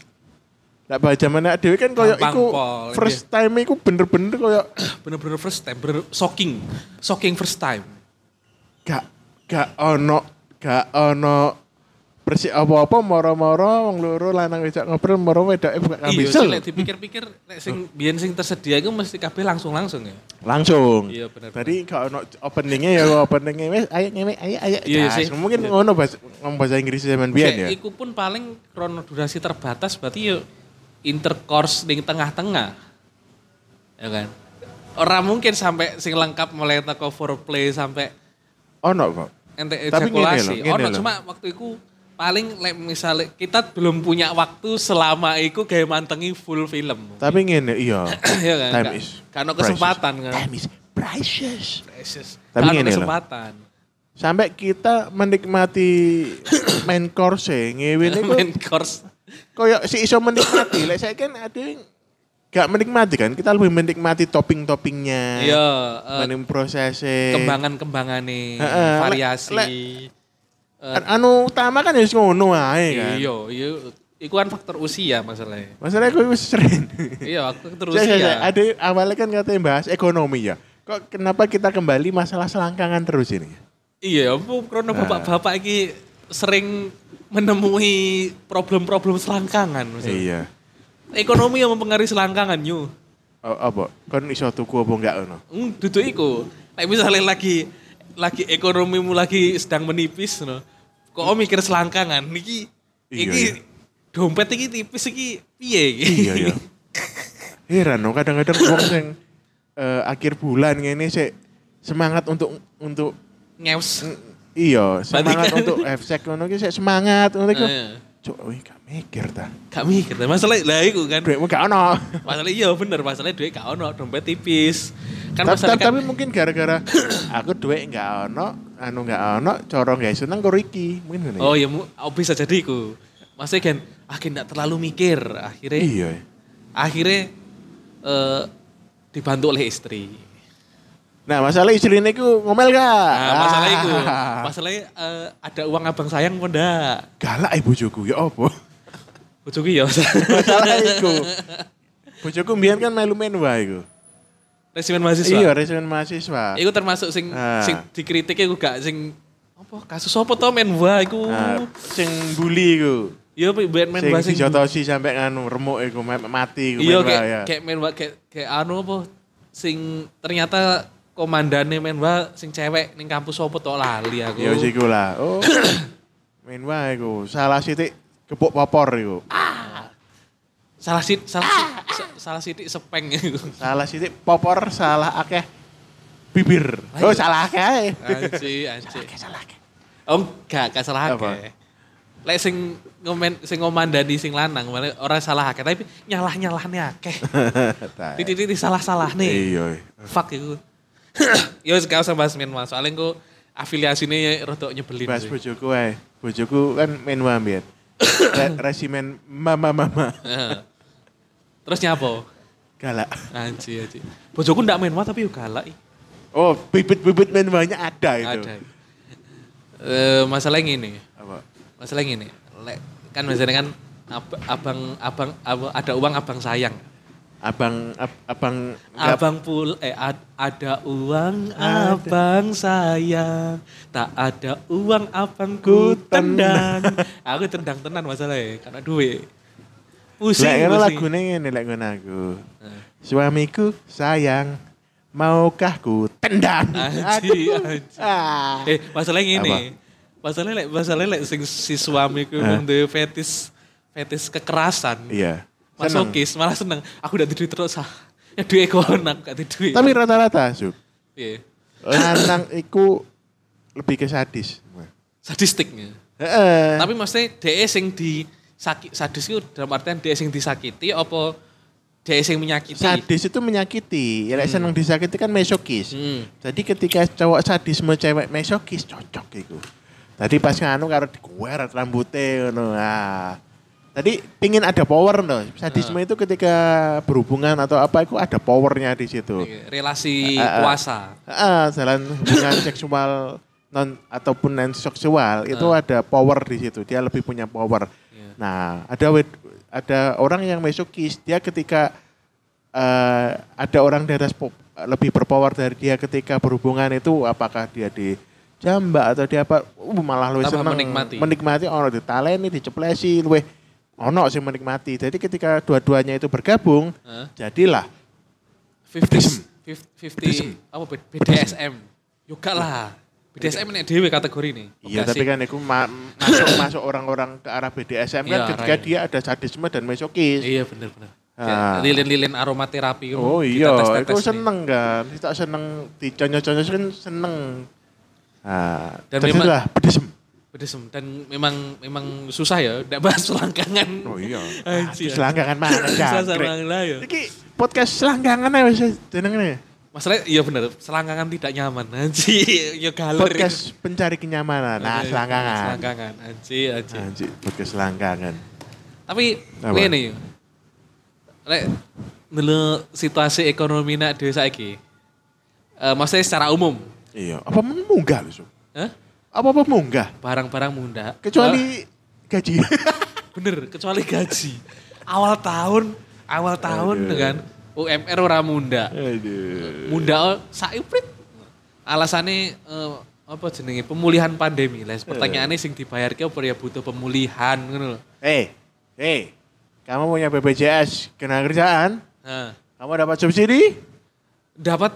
S3: Lek baca mana dhewe kan koyo
S2: Gampang,
S3: iku
S2: Pol.
S3: first time iku bener-bener koyo
S2: Bener-bener first time, bener shocking. Shocking first time.
S3: gak gak ono gak ono bersih apa-apa moro-moro wong loro lanang wedok ngobrol moro wedoke buka
S2: Iya,
S3: kambisel
S2: sih, lek dipikir-pikir lek sing biyen sing tersedia iku mesti kabeh langsung-langsung ya.
S3: langsung.
S2: Iya, bener-bener.
S3: Tadi gak ono openingnya ya openingnya wes ayo ngewe ayo ayo.
S2: Iya, iya
S3: Jas.
S2: sih.
S3: Mungkin ngono bahasa ngomong bahasa Inggris zaman biyen ya.
S2: Kayak Iku pun paling krono durasi terbatas berarti yo intercourse ning tengah-tengah. Ya kan? Orang mungkin sampai sing lengkap mulai teko foreplay sampai
S3: Ono kok.
S2: ente
S3: Tapi ngene
S2: ejakulasi.
S3: loh, ngene
S2: Ono
S3: loh.
S2: cuma waktu itu paling like, misalnya kita belum punya waktu selama itu kayak mantengi full film.
S3: Tapi ngene iya.
S2: ya kan?
S3: Time
S2: Ka-
S3: is
S2: kano
S3: precious.
S2: kesempatan kan.
S4: Time is precious.
S2: Precious.
S3: Tapi
S2: Kano
S3: ngene loh.
S2: kesempatan.
S3: Sampai kita menikmati main course ngewe niku
S2: Main course.
S3: koyo si iso menikmati. Lek saya kan ada yang gak menikmati kan. Kita lebih menikmati topping-toppingnya.
S2: Iya, eh,
S3: Menikmati prosesnya.
S2: kembangan-kembangan nih,
S3: Heeh, lek-
S2: variasi.
S3: lek-
S2: Eh,
S3: An- Anu utama kan harus ngono ae kan.
S2: Iya, iya. Iku kan faktor usia masalahnya.
S3: Masalahnya gue wis sering.
S2: iya, aku terus
S3: Saya- saya- saya-
S2: usia.
S3: Ada awalnya kan katanya bahas ekonomi ya. Kok kenapa kita kembali masalah selangkangan terus ini?
S2: Iya, aku
S3: Nah.
S2: karena bapak-bapak ini sering menemui problem-problem selangkangan. maksudnya.
S3: Iya.
S2: Ekonomi yang mempengaruhi selangkangan, yuk.
S3: O- Apa? Kon iso tuku apa enggak ono?
S2: Hmm, duduk iku. Nek misalnya lagi lagi ekonomimu lagi sedang menipis no. Kok mikir selangkangan niki
S3: Iya,
S2: iki
S3: iya.
S2: dompet iki tipis iki piye iki?
S3: Iya ya. Heran no kadang-kadang wong sing eh, akhir bulan ngene sik semangat untuk untuk
S2: Ngeus.
S3: iya, semangat
S2: Bandingkan.
S3: untuk efek ngono ki sik semangat ngono iku.
S2: Ah, iya.
S3: Cuk, wih gak mikir ta.
S2: Gak mikir. Masalah lah iku kan.
S3: Duitmu gak ono.
S2: Masalah iya bener, masalahnya duit gak ono, dompet tipis. Kan
S3: Tapi,
S2: masalah
S3: tapi,
S2: kan
S3: tapi mungkin gara-gara aku duit gak ono, anu gak ono, coro gak iso nang karo iki. Mungkin ngene.
S2: Oh ya mu, oh, bisa jadi iku. Maksudnya kan akhirnya gak terlalu mikir, akhirnya
S3: iya. ya.
S2: akhirnya eh, dibantu oleh istri.
S3: Nah, masalah istrine iku ngomel gak?
S2: Nah, masalah itu,
S3: Ah.
S2: masalahnya eh, ada uang abang sayang pun ndak.
S3: galak ibu bojoku ya apa?
S2: Bojoku ya.
S3: masalah iku. Bojoku mbiyen kan melu menwa iku.
S2: Resimen mahasiswa.
S3: Iya, resimen mahasiswa.
S2: Iku termasuk sing
S3: Ah.
S2: sing dikritik iku gak sing apa kasus apa to men wah iku.
S3: Nah, sing bully iku.
S2: Iya ben men wah
S3: sing
S2: sing.
S3: dijotosi sampe nganu remuk iku me- mati iku
S2: Iya
S3: men
S2: kayak
S3: wae, ya.
S2: kayak men wah kayak kayak anu apa sing ternyata komandane men wah sing cewek ning kampus apa to lali aku.
S3: Ya wis iku lah. Oh. men wae iku. Salah sithik kepuk popor iku.
S2: Salah sit salah sit, sa- salah sitik sepeng iku.
S3: Salah sithik popor salah akeh bibir.
S2: Lah,
S3: Oh,
S2: iya.
S3: salah akeh.
S2: Anci, anci.
S4: Kayak salah. kan?
S2: Oh enggak, enggak salah
S3: Apa?
S2: akeh. Lek sing ngomen sing ngomandani sing lanang malah ora salah akeh tapi nyalah-nyalahne akeh.
S3: Tai.
S2: Titik-titik salah-salahne.
S3: Iya.
S2: Fuck iku. Yo wis gak usah bahas Myanmar, soalnya engko afiliasine rada nyebelin. sih.
S3: Bahas bojoku wae. Bojoku kan menwa mbiyen. Re- Resimen mama-mama
S2: Heeh. Terus nyapo?
S3: galak.
S2: Anci, anci. Bojoku ndak Myanmar tapi yo galak. ih.
S3: Oh, bibit-bibit menwanya ada Iya, itu.
S2: Ada. Eh masalah ngene.
S3: Apa?
S2: Masalah ngene. Lek kan biasanya kan ab- abang abang ab- ada uang abang sayang.
S3: Abang ab- abang nggak-
S2: Abang pul eh ad- ada uang abang sayang tak ada uang abangku
S3: Ku
S2: tendang aku tendang tenan masalahnya karena duit pusing
S3: Lek ngono
S2: pusing.
S3: lagune ngene lek ngono aku.
S2: Nah.
S3: Suamiku sayang, maukah ku tendang?
S2: Anji,
S3: Aduh.
S2: anji.
S3: Ah.
S2: eh masalahnya
S3: Apa?
S2: ini masalahnya lek masalahnya lek sing si suamiku
S3: Hah?
S2: nang duwe fetis fetis kekerasan
S3: Iya. Seneng.
S2: masokis malah seneng aku udah tidur terus ah ya duit kau nak gak duit
S3: Tapi rata-rata, Sup.
S2: Iya.
S3: Lanang iku lebih ke sadis.
S2: sadistiknya
S3: Heeh.
S2: Tapi maksudnya DE sing disakit sadis itu dalam artian DE sing disakiti apa DE sing menyakiti.
S3: Sadis itu menyakiti. Ya, lek seneng disakiti kan mesokis.
S2: Hmm.
S3: Jadi ketika cowok sadisme cewek mesokis cocok iku. Tadi pas nganu karo dikuer rambutnya ngono. Ah. Tadi pingin ada power no. Sadisme
S2: Ah.
S3: itu ketika berhubungan atau apa itu ada powernya di situ.
S2: Iya, Relasi
S3: Ah, ah, ah.
S2: kuasa.
S3: Ah, jalan hubungan seksual non ataupun non seksual itu ada power di situ. Dia lebih punya power.
S2: Iya.
S3: Nah, ada wed- ada orang yang mesokis, dia ketika eh, ada orang di atas po- lebih berpower dari dia ketika berhubungan itu apakah dia di jambak atau dia apa uh, malah lu
S2: Tambah
S3: seneng
S2: menikmati.
S3: menikmati ono ditaleni diceplesi luwih ono sih menikmati jadi ketika dua-duanya itu bergabung
S2: Hah?
S3: jadilah
S2: 50 50 apa B- BDSM. Yo gak lah. BDSM nek dhewe kategori ini. Gak
S3: Iya,
S2: sih?
S3: tapi kan itu ma- masuk masuk orang-orang ke arah BDSM
S2: Iya,
S3: kan ketika
S2: arahnya.
S3: dia ada sadisme dan mesokis.
S2: Iya bener bener. Kayak
S3: Ah.
S2: Lilin-lilin aromaterapi
S3: Oh
S2: kan
S3: iya,
S2: ditetes-tetes
S3: itu
S2: nih.
S3: seneng kan. Kita seneng diconyo-conyo kan seneng. Nah,
S2: Dan
S3: dan
S2: memang-
S3: lah pedesem.
S2: Pedesem dan memang memang susah ya ndak bahas selangkangan.
S3: Oh iya.
S2: Anjir.
S3: Selangkangan mana
S2: Susah sama
S3: jangkrik.
S2: lah ya.
S3: Iki podcast selangkangan ae wis jenenge.
S2: Masalahnya iya bener, selangkangan tidak nyaman. Anji, ya galer.
S3: Podcast pencari kenyamanan. Nah,
S2: Oke,
S3: selangkangan.
S2: Selangkangan, anji, anji.
S3: Anjir, podcast selangkangan.
S2: Tapi
S3: Apa?
S2: ngene yo. Lek ndelok situasi ekonomi nak dhewe saiki. Eh maksudnya secara umum,
S3: Iya, apa men- munggah lho, Sob?
S2: Hah?
S3: Apa apa munggah?
S2: barang-barang munda.
S3: Kecuali gaji.
S2: bener, kecuali gaji. awal tahun, awal tahun
S3: Aduh.
S2: kan UMR ora oh, munda.
S3: Iya, Aduh.
S2: Munda saiprit. Alasannya eh, apa jenenge pemulihan pandemi.
S3: Iya,
S2: Les pertanyaannya sing dibayarke apa ya butuh pemulihan ngono lho.
S3: Hei, hei, Eh, kamu punya BPJS kena kerjaan,
S2: Nah,
S3: kamu dapat subsidi,
S2: dapat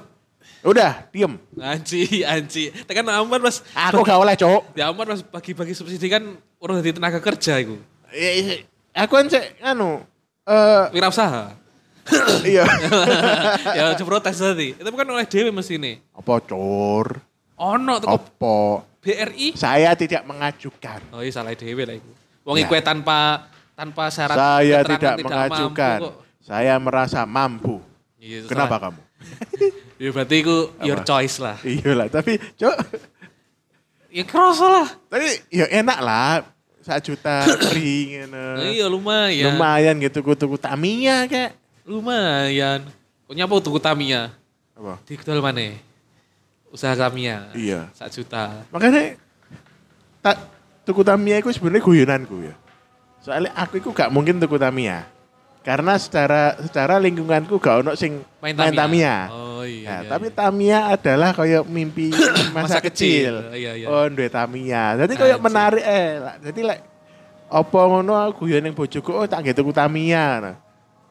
S3: udah diem.
S2: anji anji tekan ampun kan mas
S3: Aku kan- gak oleh cowok.
S2: ya ampun mas bagi-bagi subsidi kan orang dari tenaga kerja itu iya.
S3: Eh, eh, Aku kan cek, anu, eh
S2: wirausaha
S3: iya.
S2: ya coba protes tadi itu bukan oleh dewe mesti ini
S3: Apa cor?
S2: ono teko
S3: Apa?
S2: BRI
S3: Saya tidak mengajukan.
S2: oh iya salah dewe lah itu wong
S3: Ya.
S2: iku tanpa tanpa syarat
S3: Saya
S2: keterangan
S3: tidak
S2: mampu
S3: mengajukan.
S2: kok.
S3: Saya merasa mampu.
S2: Iya, salah.
S3: Kenapa kamu?
S2: ya berarti itu your
S3: Apa?
S2: choice lah
S3: Iya lah, tapi cok,
S2: ya kerasa lah
S3: tapi ya enak lah. Satu juta free, gitu.
S2: iya lumayan
S3: Lumayan gitu, tuku-tuku Tamiya kayak.
S2: lumayan kok nyapa tuku Tamiya
S3: Apa?
S2: di kedol mana usaha Tamiya
S3: Iya.
S2: sak juta
S3: Makanya tak tuku Tamiya itu sebenarnya guyonanku ya. Soalnya aku itu gak mungkin tuku Tamiya. Karena secara secara lingkunganku gak ono sing main, Tamiya.
S2: Oh iya.
S3: Nah,
S2: iya,
S3: tapi
S2: iya.
S3: Tamiya adalah kayak mimpi
S2: Masa
S3: masa, kecil.
S2: kecil. Iya, iya.
S3: Oh, duwe Tamiya. Jadi kayak
S2: Anjir.
S3: menarik eh. lah. Jadi lek apa ngono aku guyon yang bojoku oh tak nggih tuku Tamiya.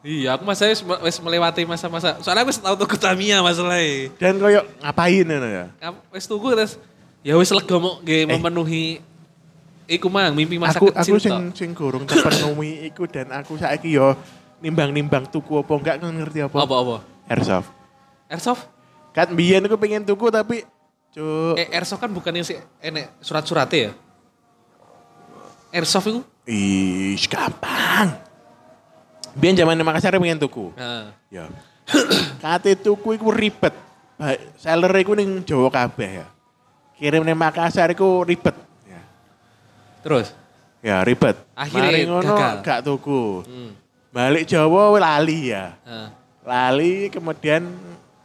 S2: iya, aku masanya wis- wis melewati masa-masa. Soalnya aku wis tau tuku Tamiya masalahnya.
S3: Dan kayak ngapain ngono ya.
S2: Aku Wis tuku terus ya wis lega mau nggih memenuhi iku mang mimpi masa
S3: Eh. aku
S2: kecil
S3: aku sing
S2: tok.
S3: sing gorong terpenuhi iku dan aku saiki yo nimbang-nimbang tuku apa enggak kan ngerti apa.
S2: apa apa?
S3: Airsoft.
S2: Airsoft?
S3: Kan biyen aku pengen tuku tapi cuk.
S2: Eh, airsoft kan bukan yang si enek surat-suratnya ya? Airsoft itu?
S3: Ih, gampang. Biyen zaman nang Makassar pengen tuku.
S2: Nah,
S3: Ya. Kate tuku iku ribet. Ba- Seller iku ning Jawa kabeh ya. Kirim nang Makassar iku ribet. Ya,
S2: terus?
S3: ya ribet.
S2: Akhirnya
S3: Mari ngono
S2: gagal.
S3: gak tuku.
S2: Hmm.
S3: Balik Jawa we lali ya.
S2: Nah.
S3: Lali kemudian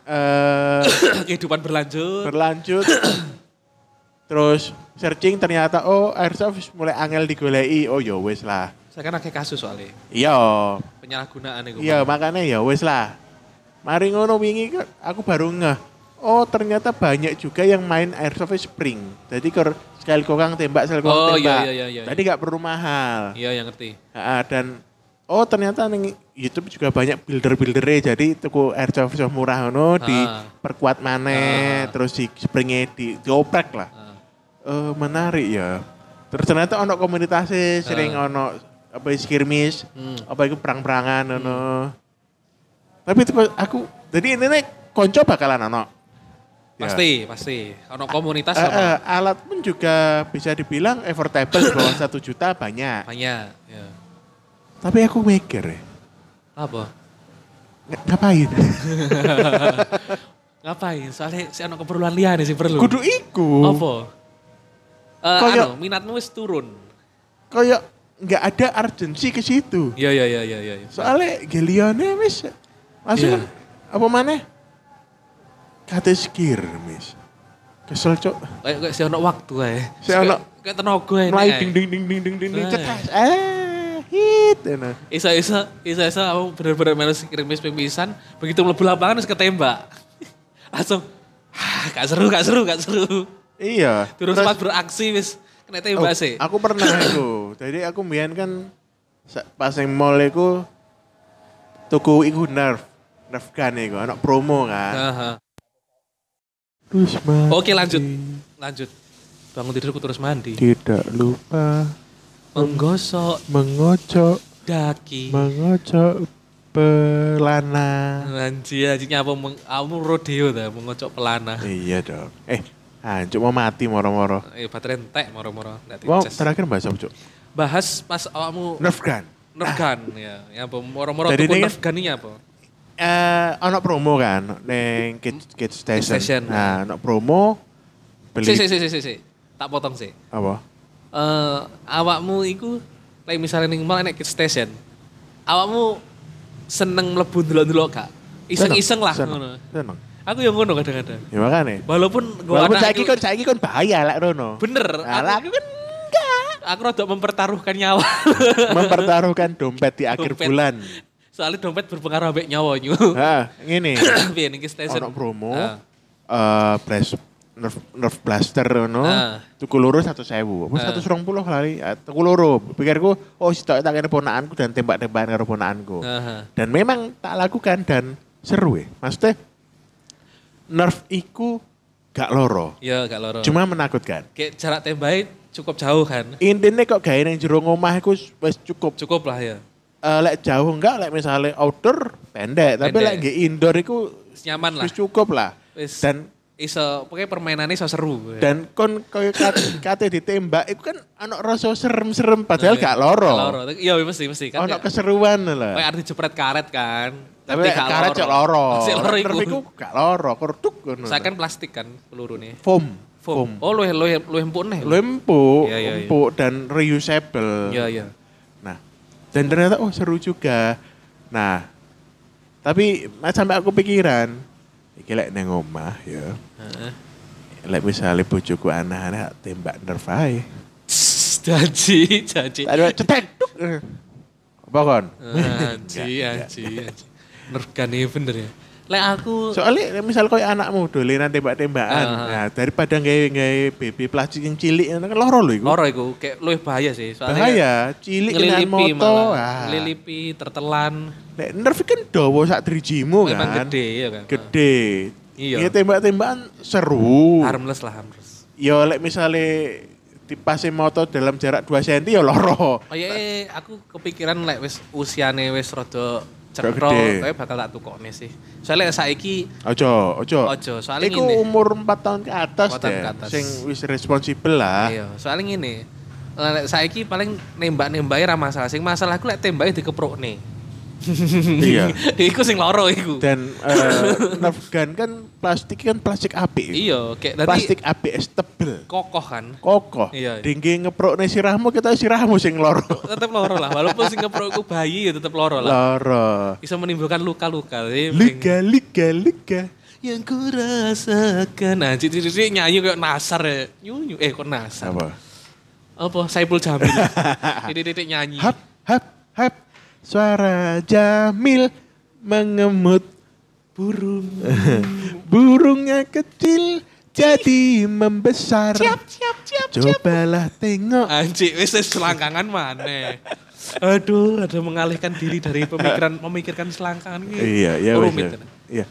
S3: eh
S2: Kehidupan berlanjut.
S3: berlanjut terus searching ternyata oh airsoft wis mulai angel digoleki oh ya wis lah
S2: Saya kan akeh kasus soalnya
S3: Iya.
S2: penyalahgunaan itu.
S3: Iya, makanya ya wes lah. Mari ngono wingi kok aku baru ngeh. Oh, ternyata banyak juga yang main airsoft spring. Jadi kor sekali kokang tembak, sekali kokang
S2: Oh, iya,
S3: tembak.
S2: iya, iya, iya.
S3: Jadi nggak perlu mahal.
S2: Iya, yang ngerti.
S3: Ah, dan oh ternyata ning YouTube juga banyak builder-buildernya. Jadi tuku airsoft yang murah ngono diperkuat maneh,
S2: Ah.
S3: terus di springnya di dioprek lah.
S2: Ah.
S3: Eh, menarik ya. Terus ternyata ono komunitasnya sering ono apa skirmish,
S2: Hmm.
S3: apa itu perang-perangan ono. Tapi itu kok aku jadi ini nih konco bakalan ono. Ya.
S2: Pasti, pasti. Ono komunitas
S3: Eh,
S2: sama
S3: eh, alat pun juga bisa dibilang affordable di bawah satu juta banyak.
S2: banyak. Ya.
S3: Tapi aku mikir ya,
S2: Apa?
S3: ng- ngapain?
S2: Ngapain? Soalnya si ono keperluan liane sih perlu.
S3: Kudu iku.
S2: Apa? Eh,
S3: Kayak-
S2: anu, minatmu wis turun.
S3: Kayak nggak ada urgensi ke situ.
S2: Iya, iya, iya, iya, iya.
S3: Soalnya Gelione mis
S2: Iya.
S3: langsung apa mana? Kate skir mis. Kesel cok.
S2: Kayak kayak si ono waktu ae.
S3: Si ono-
S2: Kayak- kayak tenaga ae.
S3: Mulai ding ding ding ding ding ding ding
S2: Nah.
S3: cetas. Eh hit. enak.
S2: Isa-isa, isa-isa aku bener-bener melu kirim ping pisan, begitu mlebu lapangan terus ketembak. Langsung "Hah, gak seru, gak seru, gak seru.
S3: Iya.
S2: Turun
S3: Terus-
S2: sempat beraksi wis kena tembak
S3: Oh,
S2: sih.
S3: Aku pernah aku. Jadi aku mbiyen kan sa- pas yang mall aku tuku iku nerf. Nerf gun iku, anak promo kan.
S2: Aha.
S3: Terus mati,
S2: Nah. Oke, lanjut. Lanjut. Bangun tidurku terus mandi.
S3: Tidak lupa
S2: Menggosok
S3: mengocok,
S2: daki.
S3: mengocok pelana.
S2: Anjir, anjir apa meng, kamu rodeo ta mengocok pelana.
S3: Iya dong. Eh, hancur mau mati moro-moro.
S2: Eh baterai entek moro-moro ndak
S3: Wow,
S2: dicas.
S3: terakhir bahas apa, Cuk?
S2: Bahas pas awakmu
S3: Nerf gun.
S2: nerf gun ya. Ya apa moro-moro
S3: Jadi
S2: tuku
S3: ini- kan?
S2: nerf gun ini apa?
S3: Eh, ono promo kan neng Kids, Kids Station.
S2: Station.
S3: Nah, ono promo
S2: Si
S3: beli
S2: si si si si. si. Tak potong sih.
S3: apa?
S2: Eh awakmu iku lek misalnya ning mall enek kids station. Awakmu seneng mlebu ndelok-ndelok gak? Iseng-iseng lah
S3: Seneng,
S2: ngono.
S3: Seneng.
S2: Aku yang ngono kadang-kadang.
S3: Ya makanya.
S2: Walaupun gua
S3: Walaupun
S2: anak
S3: saiki
S2: iku-
S3: kon saiki kon bahaya lek Rono. Nah,
S2: bener,
S3: Alah,
S2: aku, kan Aku rada mempertaruhkan nyawa.
S3: Mempertaruhkan dompet di akhir
S2: Dompet.
S3: bulan.
S2: Soalnya dompet berpengaruh ambek nyawa nyu.
S3: Hah, ngene.
S2: Piye niki station?
S3: ono promo eh
S2: Ah.
S3: blast- nerf, nerf blaster ono.
S2: Ah.
S3: Tuku loro 100.000. Apa
S2: Ah.
S3: 120 lali. Ah, Tuku loro. Pikirku, oh sitok tak kene ponakanku dan tembak-tembakan karo ponakanku.
S2: Aha.
S3: Dan memang tak lakukan dan seru ya. Maksudnya nerf iku gak loro.
S2: Ya gak loro.
S3: Cuma menakutkan.
S2: kayak jarak tembaknya cukup jauh kan.
S3: Intinya kok gawe nang jero omah iku wis cukup
S2: Cukup lah ya.
S3: Eh, lek jauh enggak, lek misalnya outdoor pendek, tapi
S2: Pendek.
S3: lek nggih indoor itu
S2: Nyaman lah.
S3: wis cukup lah.
S2: Wis.
S3: Dan
S2: Iso, pokoknya permainannya iso seru. ya.
S3: dan kon koyo kat- kate ditembak itu kan ana rasa serem-serem padahal gak loro.
S2: Gak loro. Iya mesti mesti kan.
S3: Ono
S2: kayak-
S3: keseruan
S2: Kayak
S3: lah.
S2: arti jepret karet kan.
S3: Tapi lek karet cok loro.
S2: Masih loro
S3: Lek
S2: iku.
S3: nerf iku gak loro, kerduk ngono.
S2: Saya kan plastik kan peluru nih.
S3: foam.
S2: Foam. Oh lu lu lu empuk nih.
S3: Lu empuk,
S2: Iya, iya, iya.
S3: empuk dan reusable.
S2: Iya iya.
S3: Nah, dan ternyata oh seru juga. Nah, tapi mas- sampai aku pikiran, iki lek neng omah ya.
S2: Heeh.
S3: Lek misalnya bojoku anak-anak tembak nerf ae.
S2: Tss, Janji, janji.
S3: Tadi wae cetek. duk. Eh. Apa kon?
S2: Eh. Janji,
S3: Enggak,
S2: janji, janji. Nergan ya bener ya. Lek aku
S3: Soalnya lek misal koyo anakmu dolenan tembak-tembakan.
S2: Ah.
S3: Nah, daripada gawe-gawe baby plastik yang cilik ngono kan loro lho iku.
S2: loro iku kayak lu bahaya sih. Soalnya
S3: Bahaya, cilik dengan
S2: ngelilipi
S3: moto.
S2: malah.
S3: Ah.
S2: Ngelilipi, tertelan.
S3: Lek nerf kan dawa sak drijimu kan.
S2: Memang gede ya kan.
S3: Gede.
S2: Iya.
S3: Iya. tembak-tembakan seru.
S2: Harmless lah harmless.
S3: ya lek misale dipase moto dalam jarak 2 cm ya loro.
S2: Oh iya, iya, aku kepikiran lek wis usiane wis rada cetro,
S3: gede.
S2: kayak bakal tak tukokne sih. Soalnya lek saiki
S3: Ojo, ojo.
S2: Ojo, soalnya
S3: Iku
S2: ngene.
S3: umur 4 tahun ke atas
S2: Empat tahun
S3: deh.
S2: ke atas.
S3: Sing wis responsibel lah.
S2: iya, soalnya ngene. Lek saiki paling nembak-nembake ra masalah, sing masalah aku lek tembake dikeprokne.
S3: Iya.
S2: iku sing loro iku.
S3: Dan eh, nerf gun kan plastik kan plastik apik.
S2: iya, kayak dadi
S3: Plastik apik es tebel.
S2: kokoh kan.
S3: Kokoh.
S2: Iya, iya.
S3: Dinggi ngeprokne sirahmu kita sirahmu sing loro.
S2: Tetep loro lah, walaupun sing ngeprok iku bayi ya tetep loro lah. Iya,
S3: Loro.
S2: Bisa menimbulkan luka-luka. Jadi mending-
S3: Liga, liga, liga.
S2: yang ku rasakan nah cici cici nyanyi kayak nasar ya nyunyu eh kok nasar apa,
S3: Apa?
S2: Saipul Jamil titik titik nyanyi
S3: Hap, hap hap suara Jamil mengemut burung burungnya kecil jadi membesar
S4: siap, siap,
S3: cobalah tengok
S2: Anjir, wis wis selangkangan mana? Aduh, ada mengalihkan diri dari pemikiran memikirkan selangkangan ini.
S3: iya iya wes,
S2: Rumit.
S3: ya. iya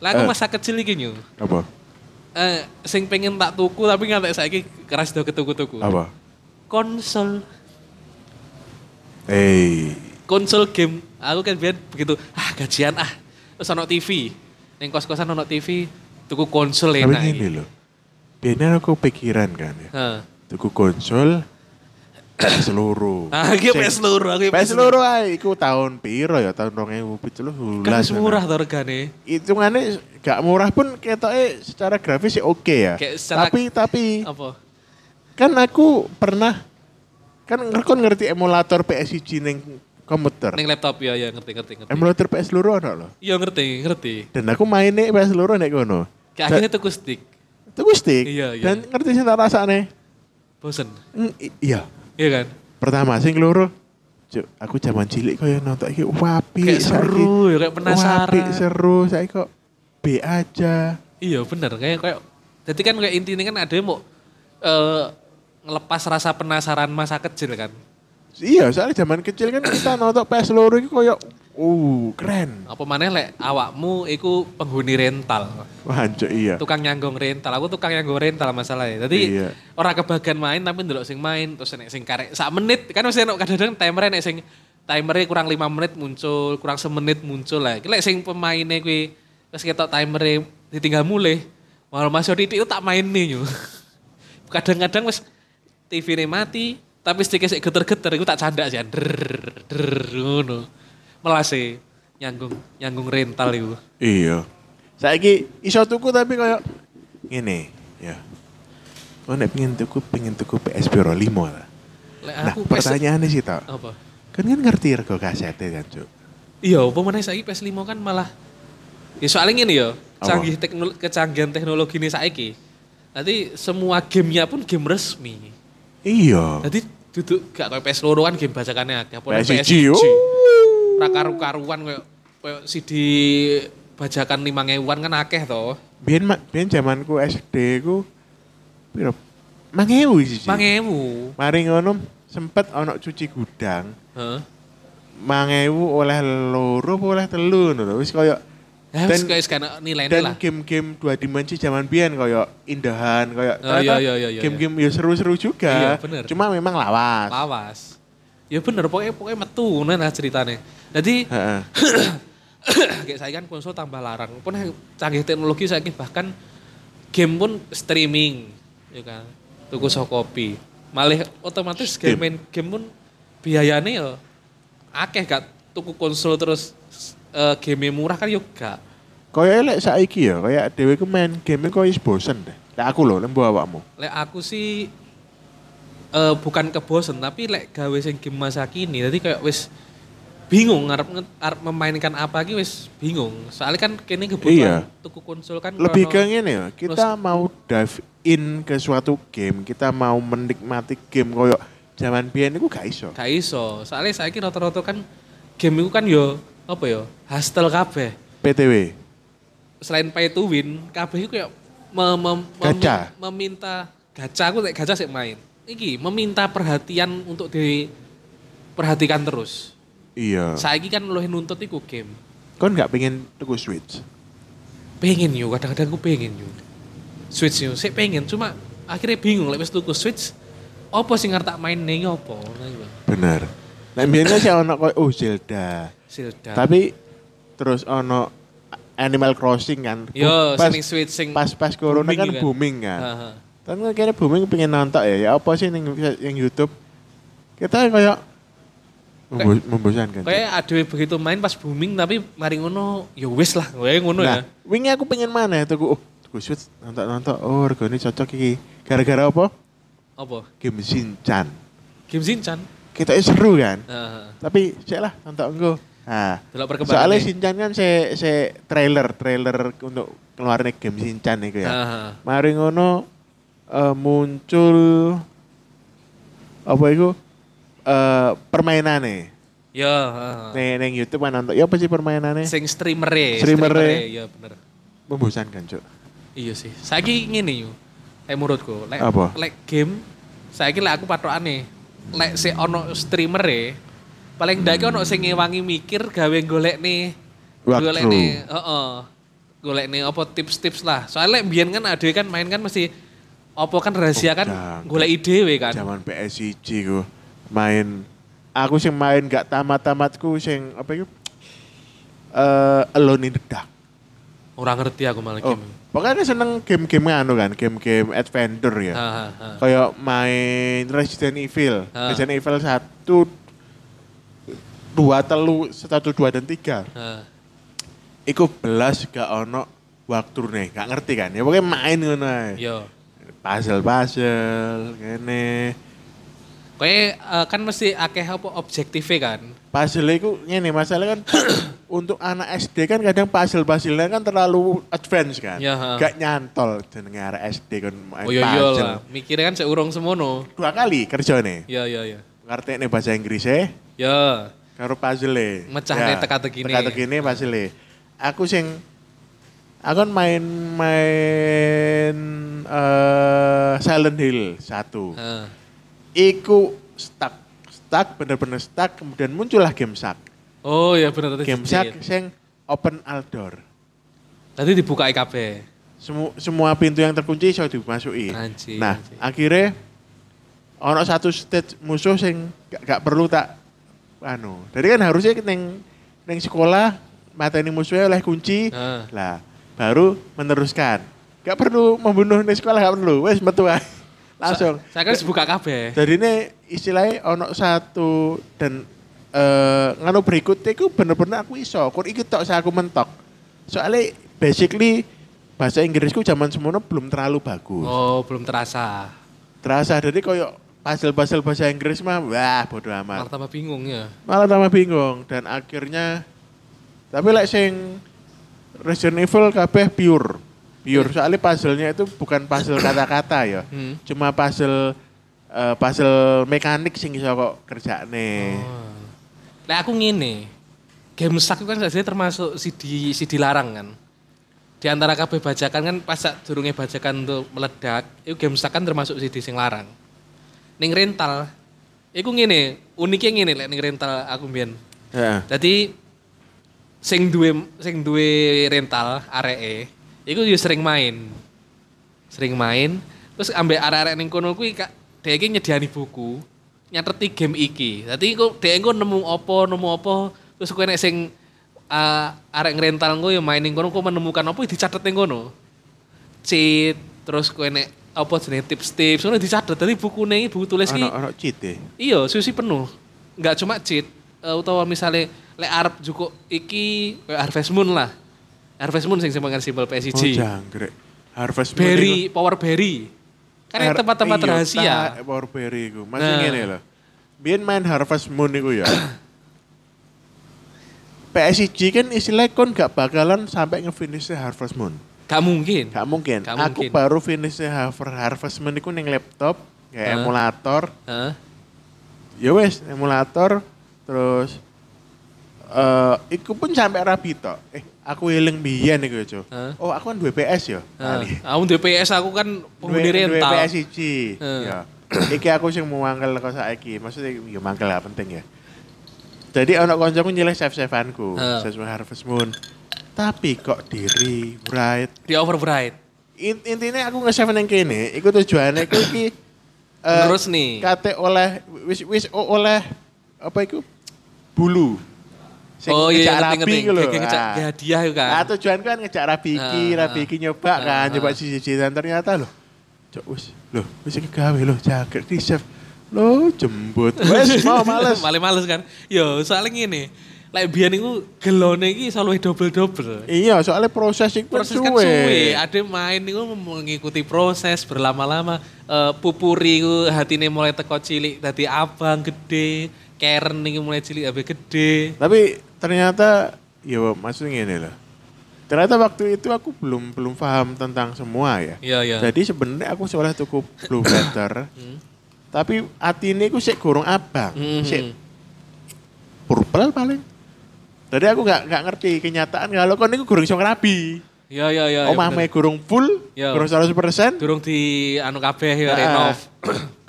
S2: Lah aku
S3: Eh.
S2: masa kecil iki nyu.
S3: apa
S2: Eh, sing pengen tak tuku tapi ngantek saiki keras do ketuku-tuku.
S3: apa
S2: Konsol,
S3: eh
S2: konsol game. Aku kan biar begitu, ah gajian ah. Terus ono TV. Ning kos-kosan ono TV, tuku konsol
S3: tapi
S2: enak.
S3: ini loh biasanya aku pikiran kan ya
S2: Heeh.
S3: tuku konsol seluruh
S2: Ah, iki PS loro, aku
S3: PS loro ae ah, iku tahun piro ya tahun 2017
S2: Kan wis murah to regane.
S3: ah. hitungannya gak murah pun ketoknya secara grafis sih oke ya
S2: Kayak secara- Oh.
S3: tapi tapi
S2: Apa?
S3: kan aku pernah kan ngerkon ngerti emulator PS1 ning komputer
S2: Ning laptop ya ya ngerti ngerti ngerti.
S3: emulator PS loro ana lho
S2: Iya ngerti, ngerti.
S3: dan aku mainnya PS loro nek kono
S2: Kayak akhirnya tuku stick.
S3: itu stick
S2: Iya, iya.
S3: dan ngerti sih tak rasane
S2: Bosen.
S3: Mm, i- iya
S2: Iya kan?
S3: pertama sing loro Cuk, aku zaman cilik kaya nonton iki wapi
S2: Kayak seru, ya, kayak penasaran.
S3: wapi seru saya kok B aja
S2: Iya bener kayak kayak jadi kan kayak intinya kan ada yang mau eh, ngelepas rasa penasaran masa kecil kan.
S3: Iya, soalnya zaman kecil kan kita nonton PS loro iki koyo uh keren.
S2: Apa maneh lek awakmu iku penghuni rental,
S3: Wah, cok, iya.
S2: tukang nyanggong rental. Aku tukang nyanggong rental masalahnya. Jadi
S3: Iya.
S2: orang kebagian main tapi ndelok sing main terus nek sing karek sak menit kan mesti enak kadang-kadang timer nek sing timernya kurang lima menit muncul, kurang semenit muncul lah. Iki Lek sing pemainnya kuwi terus ketok timernya ditinggal mulai. Malah Mas Yodi itu tak main nih yo. Kadang-kadang wis TV ini mati, tapi sedikit sik geter-geter iku tak candak sih. Der der ngono. Melase nyanggung nyanggung rental iku.
S3: Iya. Saiki iso tuku tapi koyo ngene, ya. Kau nek pengen tuku, pengen tuku PS Pro 5 lah.
S2: Lek
S3: Nah,
S2: Eh, aku PS
S3: pertanyaannya sih tau.
S2: apa?
S3: Kan kan ngerti rego kasetnya kan, Cuk.
S2: Iya, apa meneh saiki PS5 kan malah ya soalnya gini ya,
S3: Apa?
S2: canggih teknologi kecanggihan teknologi ini saiki. Nanti semua gamenya pun game resmi.
S3: Iya.
S2: Nanti duduk gak kayak PS loro kan game bajakannya akeh. apa
S3: PS1,
S2: PS1.
S3: wuh.
S2: Ra karu-karuan kayak kayak CD bajakan 5000-an kan akeh to.
S3: Biyen ma- biyen zamanku SD ku piro? Mangewu sih.
S2: 5000.
S3: Mari ngono sempet ono cuci gudang.
S2: Heeh.
S3: mangewu oleh loro apa oleh telu ngono lho. wis koyo
S2: Ya wis
S3: Dan-
S2: kayak sekarang nilainya
S3: dan
S2: lah.
S3: game-game dua dimensi zaman biyen koyo indahan koyo
S2: Oh, iya, iya, iya, iya.
S3: game-game ya seru-seru juga
S2: Iya, bener.
S3: cuma memang lawas
S2: Lawas. Ya bener pokoknya pokoknya metu ngono lah ceritane. Jadi
S3: Heeh.
S2: kayak saya kan konsol tambah larang pun canggih teknologi saya bahkan game pun streaming ya kan tuku soko kopi malah otomatis game
S3: Steam.
S2: main game pun biayanya ya akeh gak tuku konsol terus game murah kan yo gak
S3: koyo elek saiki ya koyo dhewe ku main game koyo wis bosen deh lek aku lho lembu awakmu
S2: lek aku sih eh bukan kebosen tapi lek gawe sing game masa kini jadi kayak wis bingung ngarep, nge- arep memainkan apa iki wis bingung soalnya kan kini kebutuhan
S3: Iya.
S2: tuku konsol kan
S3: lebih
S2: krono-
S3: ke ngene ya kita mau dive in ke suatu game kita mau menikmati game koyo zaman biyen niku gak iso
S2: Gak iso. Soalnya saya kira rata-rata kan game itu kan yo apa yo hustle kabeh.
S3: PTW
S2: Selain pay to win, kabeh itu kayak me- me- memi-
S3: Gacha.
S2: meminta gacha aku lek gacha sik main. Iki meminta perhatian untuk diperhatikan terus.
S3: iya
S2: Saiki kan luwih nuntut iku game.
S3: kon gak pengen tuku switch
S2: Pengen yo, kadang-kadang aku pengen yo. Switch yo, sik pengen cuma akhirnya bingung lek wis tuku Switch apa sing arep tak main ning apa iya. ngono iku.
S3: Bener. Nah, biasanya sih ono koyo oh Zelda.
S2: Silda.
S3: Tapi terus ono Animal Crossing kan.
S2: yo
S3: pas,
S2: sing Switch sing
S3: pas pas corona
S2: booming
S3: kan
S2: juga.
S3: booming kan.
S2: Ha, ha.
S3: Kan kira booming pengen nonton ya. Ya apa sih yang, yang YouTube? Kita kayak membo- membosankan.
S2: Kayak adewe begitu main pas booming tapi mari ngono ya wis lah, wae ngono ya.
S3: nah, wingi aku pengen mana tuku oh tuku switch nonton nonton oh regane cocok iki. Gara-gara apa?
S2: Apa?
S3: Game Shinchan.
S2: Game Shinchan.
S3: Kita seru kan.
S2: Heeh.
S3: Tapi cek lah nonton engko. Nah,
S2: Delok perkembangan.
S3: Soalnya Shinchan kan se se trailer trailer untuk keluarnya game Shinchan itu ya.
S2: Heeh.
S3: Mari ngono eh, muncul apa itu eh permainane.
S2: Ya, heeh.
S3: Ning ning YouTube kan nonton. Ya apa sih permainane?
S2: sing streamer
S3: Streamer-e.
S2: ya bener.
S3: Membosankan, kan, Cuk.
S2: Iya sih. Saiki ngene yo. Lek menurutku, lek
S3: Apa?
S2: lek game saiki lek aku patokane. Lek si ono streamer e paling ndak iki ono sing ngewangi mikir gawe golek nih
S3: Walkthrough.
S2: golek nih heeh. Golek nih apa tips-tips lah. Soalnya lek mbiyen kan ada kan main kan mesti apa kan
S3: Oh,
S2: rahasia kan
S3: Udang.
S2: golek ide we kan.
S3: Zaman PSIG ku main aku sing main gak tamat-tamatku sing apa iku eh Alone in the Dark.
S2: Ora ngerti aku malah
S3: Oh,
S2: game.
S3: pokoknya seneng game-game anu kan, game-game adventure ya.
S2: Ha, ha, ha.
S3: Kayak main Resident Evil.
S2: Ah.
S3: Resident Evil 1 dua telu satu dua dan tiga
S2: Ha.
S3: iku belas gak ono waktu nih gak ngerti kan ya pokoknya main ngono ae.
S2: Yo.
S3: puzzle puzzle ngene
S2: Kowe eh, kan mesti akeh apa objektifnya kan.
S3: puzzle iku ngene masalah kan untuk anak SD kan kadang puzzle puzzle kan terlalu advance kan
S2: Ya, ha.
S3: gak nyantol jenenge arek SD kan main
S2: Oh iya iya
S3: puzzle
S2: lah. Mikirnya kan seurung semono.
S3: dua kali kerja nih
S2: Ya ya ya.
S3: ngerti nih bahasa Inggris ya
S2: Ya.
S3: karo puzzle
S2: Mecahne teka-tekine.
S3: teka-tekine puzzle aku sing aku kan main main eh, Silent Hill satu
S2: Heeh.
S3: iku stuck stuck bener-bener stuck kemudian muncullah game sak
S2: Oh ya bener tadi.
S3: game sak sing open outdoor
S2: Tadi dibuka kabeh.
S3: Semu- semua pintu yang terkunci iso dimasuki
S2: Anjing,
S3: nah
S2: anjing.
S3: akhirnya ono satu stage musuh sing gak, gak perlu tak anu jadi kan harusnya neng neng sekolah mateni musuhnya oleh kunci
S2: Ah.
S3: lah baru meneruskan gak perlu membunuh neng sekolah gak perlu wes metu ae. langsung
S2: Saya kan dibuka kabeh.
S3: Jadi ini istilahnya ono satu dan eh nganu berikutnya itu bener-bener aku iso. Kur iki tok saya aku mentok. Soalnya basically bahasa Inggrisku zaman semono belum terlalu bagus.
S2: Oh, belum terasa.
S3: Terasa dari koyo puzzle-puzzle bahasa Inggris mah wah bodoh
S2: Malah
S3: amat.
S2: tambah bingung ya.
S3: Malah tambah bingung dan akhirnya tapi lek sing Resident Evil kabeh pure. Pure soalnya puzzle-nya itu bukan puzzle kata-kata ya
S2: Hmm.
S3: cuma puzzle eh, puzzle mekanik sing iso kok kerjane.
S2: Oh. Lah aku ngene. Game sak itu kan sebenarnya termasuk CD CD larang kan. Di antara kabeh bajakan kan pas durunge bajakan tuh meledak, itu game sak kan termasuk CD sing larang. Ning rental, iku ngene, uniknya ngene lek ning rental aku mbiyen. Ya.
S3: Heeh.
S2: Jadi sing duwe sing duwe rental areke iku yo sering main. Sering main, terus ambek arek-arek ning kono kuwi kak dhek iki nyediani buku nyateti game iki. Dadi iku dhek engko nemu apa, nemu apa, terus kowe nek sing ah, arek ngrental engko yo main ning kono kowe menemukan apa dicatet ning kono. Cheat, terus kowe nek apa jenenge tips-tips ngono dicatet. Dadi bukune iki buku tulis iki
S3: Ono ono cheat e.
S2: Iya, susi penuh. Nggak cuma cheat. Eh, utawa misalnya lek arep cukup iki kayak Harvest Moon lah. Harvest Moon sing simpengan simbol
S3: Oh
S2: PSG.
S3: jangkrik. Harvest Moon
S2: berry,
S3: iku-
S2: power berry. Kan yang
S3: Har-
S2: tempat-tempat
S3: iya,
S2: rahasia.
S3: tak, Power berry iku. Masih
S2: Nah.
S3: ngene lho. Biyen main Harvest Moon iku ya. PSG kan istilahnya kon gak bakalan sampai ngefinish Harvest Moon.
S2: Gak mungkin.
S3: Gak mungkin.
S2: Gak mungkin.
S3: Aku baru finish Harvest Harvest Moon iku ning laptop, kayak
S2: Heeh.
S3: emulator,
S2: Hah?
S3: ya wes emulator terus eh iku pun sampai rabi tok. Eh, aku eling biyen iku ya, Cuk.
S2: Hah?
S3: Oh, aku kan duwe PS ya.
S2: Hah?
S3: Kali.
S2: Aku duwe PS aku kan
S3: Duwe
S2: penghuni
S3: duwe
S2: rental.
S3: PS siji.
S2: Hah.
S3: Ya. Iki aku sing mau mangkel kok saiki. Maksudnya ya mangkel lah penting ya. Jadi anak koncoku nyilih save-saveanku,
S2: Hah.
S3: save Harvest Moon. Tapi kok diri bright.
S2: Di overbright.
S3: Int- intinya aku nge-save nang kene, iku tujuannya iku iki eh,
S2: Terus nih.
S3: kate oleh wis wis o- oleh apa iku bulu Sing
S2: oh iya,
S3: ngejak
S2: ngerti
S3: rabi
S2: ngerti.
S3: iku lho.
S2: Kayak ngejak
S3: Ah.
S2: ya hadiah itu kan.
S3: Nah, tujuan kan ngejak rabi iki
S2: Ah,
S3: rabi
S2: ah.
S3: iki nyoba kan
S2: Ah,
S3: coba
S2: ah.
S3: siji dan ternyata loh cok wis loh wis iki gawe loh jaket di chef lo jembut wis mau males
S2: Males males kan. Yo, soalnya ngene. Lek biyen iku gelone iki selalu double-double.
S3: iya soalnya proses iku
S2: proses kan suwe. Ada main itu mengikuti proses berlama-lama. Eh, pupuri itu hatine mulai teko cilik dadi abang gede. Karen itu mulai cilik abe gede.
S3: Tapi ternyata ya maksudnya ini lah. Ternyata waktu itu aku belum belum paham tentang semua ya.
S2: Iya, Hmm. iya.
S3: Jadi sebenarnya aku seolah tuku blue letter. Tapi atine iku sik gorong abang,
S2: Mhm. Hmm.
S3: sik purple paling. Jadi aku nggak nggak ngerti kenyataan kalau kon niku gorong iso ngrabi.
S2: Ya ya ya.
S3: Oh, mame gorong full,
S2: Ya.
S3: gorong 100%,
S2: durung di anu kabeh ya
S3: Ah.
S2: renov.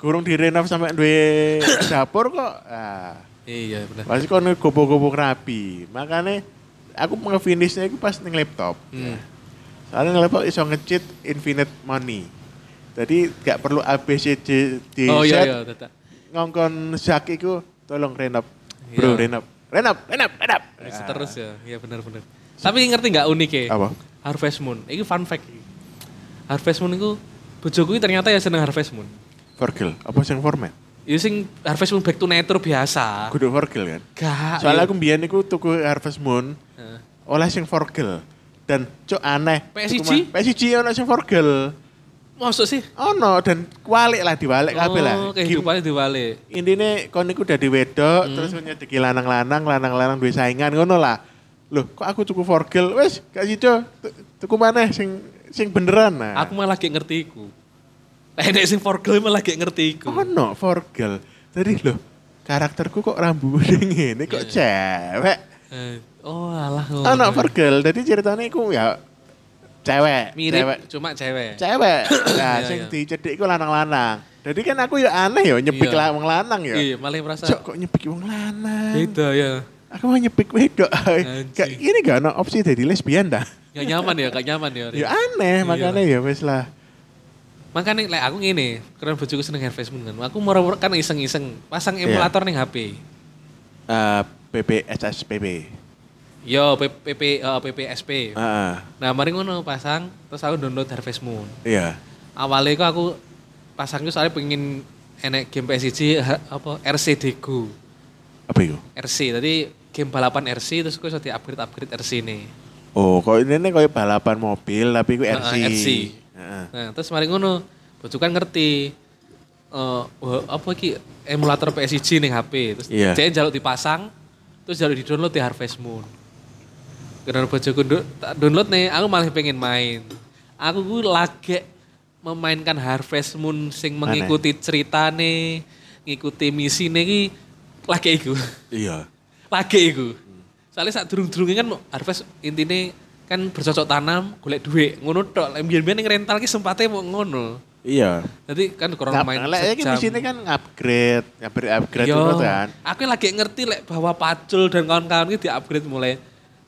S3: gorong direnov sampai duwe dapur kok. Ah.
S2: Iya bener.
S3: Pasti kon gopo-gopo rapi. Makanya aku ngefinishnya itu pas ning laptop.
S2: Hmm.
S3: Soalnya ning laptop iso ngecheat infinite money. Jadi gak perlu ABCD di
S2: Oh iya
S3: set.
S2: iya tetep.
S3: Ngongkon Zak iku tolong renop.
S2: Iya.
S3: Bro, renop. Renop, renop, renop.
S2: Mix
S3: Ah,
S2: terus ya. Iya bener bener. Tapi ngerti nggak unik ya?
S3: Apa?
S2: Harvest Moon. Ini fun fact. iki. Harvest Moon itu bojoku iki ternyata ya seneng Harvest Moon.
S3: Forgil. Apa sing format?
S2: Itu Ya sing Harvest Moon back to nature biasa.
S3: Kudu Forgil kan.
S2: Ah. Gak.
S3: Soalnya
S2: iya.
S3: aku mbiyen iku tuku Harvest Moon
S2: Heeh.
S3: oleh sing Forgil. Dan cok aneh.
S2: PSG?
S3: Tuku mah- PSG ono sing Forgil.
S2: Maksud sih?
S3: Ono dan kualik lah diwalik kabeh lah.
S2: Oh, kehidupannya dibalik.
S3: intine kon niku dadi wedok
S2: Hmm.
S3: terus menyedeki lanang-lanang, lanang-lanang duwe saingan ngono lah. Loh, kok aku tuku forgel? Wes, gak sido. Tu- Tuku maneh sing sing beneran nah.
S2: Aku malah gak ngerti iku. Enek sing forgel malah gak ngerti iku.
S3: ono forgel. Jadi loh, karakterku kok rambu ngene kok cewek.
S2: Eh, Oh alah. Iya. oh.
S3: Ono forgel. Jadi ceritanya iku ya cewek,
S2: Mirip,
S3: cewek.
S2: cuma cewek.
S3: Cewek. Nah,
S2: Iya,
S3: sing
S2: iya.
S3: dicedhik iku lanang-lanang. Jadi kan aku ya aneh ya nyepik
S2: Iya.
S3: lah wong lanang ya.
S2: Iya, malah merasa
S3: Cok kok nyepik wong lanang.
S2: beda ya.
S3: Aku mau nyepik wedok.
S2: Anjing.
S3: Kayak ini gak ada opsi jadi lesbian dah.
S2: Gak nyaman ya, gak nyaman ya.
S3: Ya aneh makanya ya wes lah.
S2: Makanya like, aku ngene, keren bojoku seneng Harvest Moon kan. Aku mau kan iseng-iseng pasang
S3: Iya.
S2: emulator ning HP.
S3: Eh, PPSSPB.
S2: Yo P- PP eh, PPSP.
S3: Heeh.
S2: Nah, mari ngono pasang terus aku download Harvest Moon.
S3: Iya.
S2: Awalnya kok aku pasang itu soalnya pengen enek game PSG ha- apa RCD Go.
S3: Apa itu?
S2: RC. Tadi game balapan RC terus aku iso di-upgrade-upgrade RC nih.
S3: Oh, kok ini nih kayak balapan mobil tapi itu RC.
S2: Heeh, RC.
S3: Heeh.
S2: Nah, terus mari ngono, bojo kan ngerti. Eh, wah, apa iki emulator PSG ning HP. Terus
S3: Iya.
S2: dia jaluk dipasang, terus jaluk di-download di Harvest Moon. Karena bojoku do- tak download nih, aku malah pengen main. Aku ku lagi memainkan Harvest Moon sing
S3: Mana?
S2: mengikuti ceritane, ngikuti misi iki lagi iku.
S3: Iya.
S2: lagi iku. Soalnya saat durung-durungnya kan Harvest intinya kan bercocok tanam, golek duit, ngono tok. Lek biyen-biyen ning rental ki sempate mau ngono.
S3: Iya.
S2: Jadi kan kurang
S3: Nah,
S2: main
S3: lek
S2: sejam.
S3: iki
S2: Iya.
S3: mesine kan upgrade, upgrade upgrade
S2: Yo,
S3: itu kan.
S2: Aku lagi ngerti lek bahwa Pacul dan kawan-kawan ini di-upgrade mulai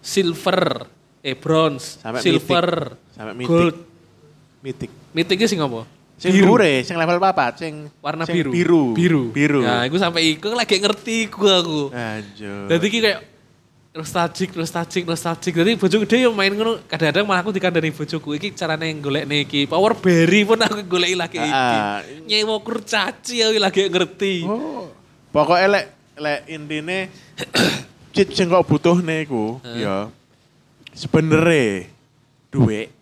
S2: silver, eh bronze,
S3: Sampai
S2: silver,
S3: mythic. Sampai mythic.
S2: gold.
S3: Mitik.
S2: Mythic ki sing apa?
S3: Sing dure, sing level papat, sing
S2: Warna
S3: sing
S2: biru.
S3: Biru.
S2: Biru.
S3: Biru.
S2: Nah, aku sampai iku lagi ngerti iku aku.
S3: Anjir.
S2: Jadi ki kayak nostalgic, nostalgic, nostalgic. Jadi bojo gede yang main ngono kadang-kadang malah aku dikandani bojoku iki carane golekne iki. Power berry pun aku goleki lagi iki.
S3: Ah.
S2: Nyewa kurcaci aku lagi ngerti.
S3: Oh. Pokoknya lek lek intine cheat sing kok butuhne iku ya sebenere duit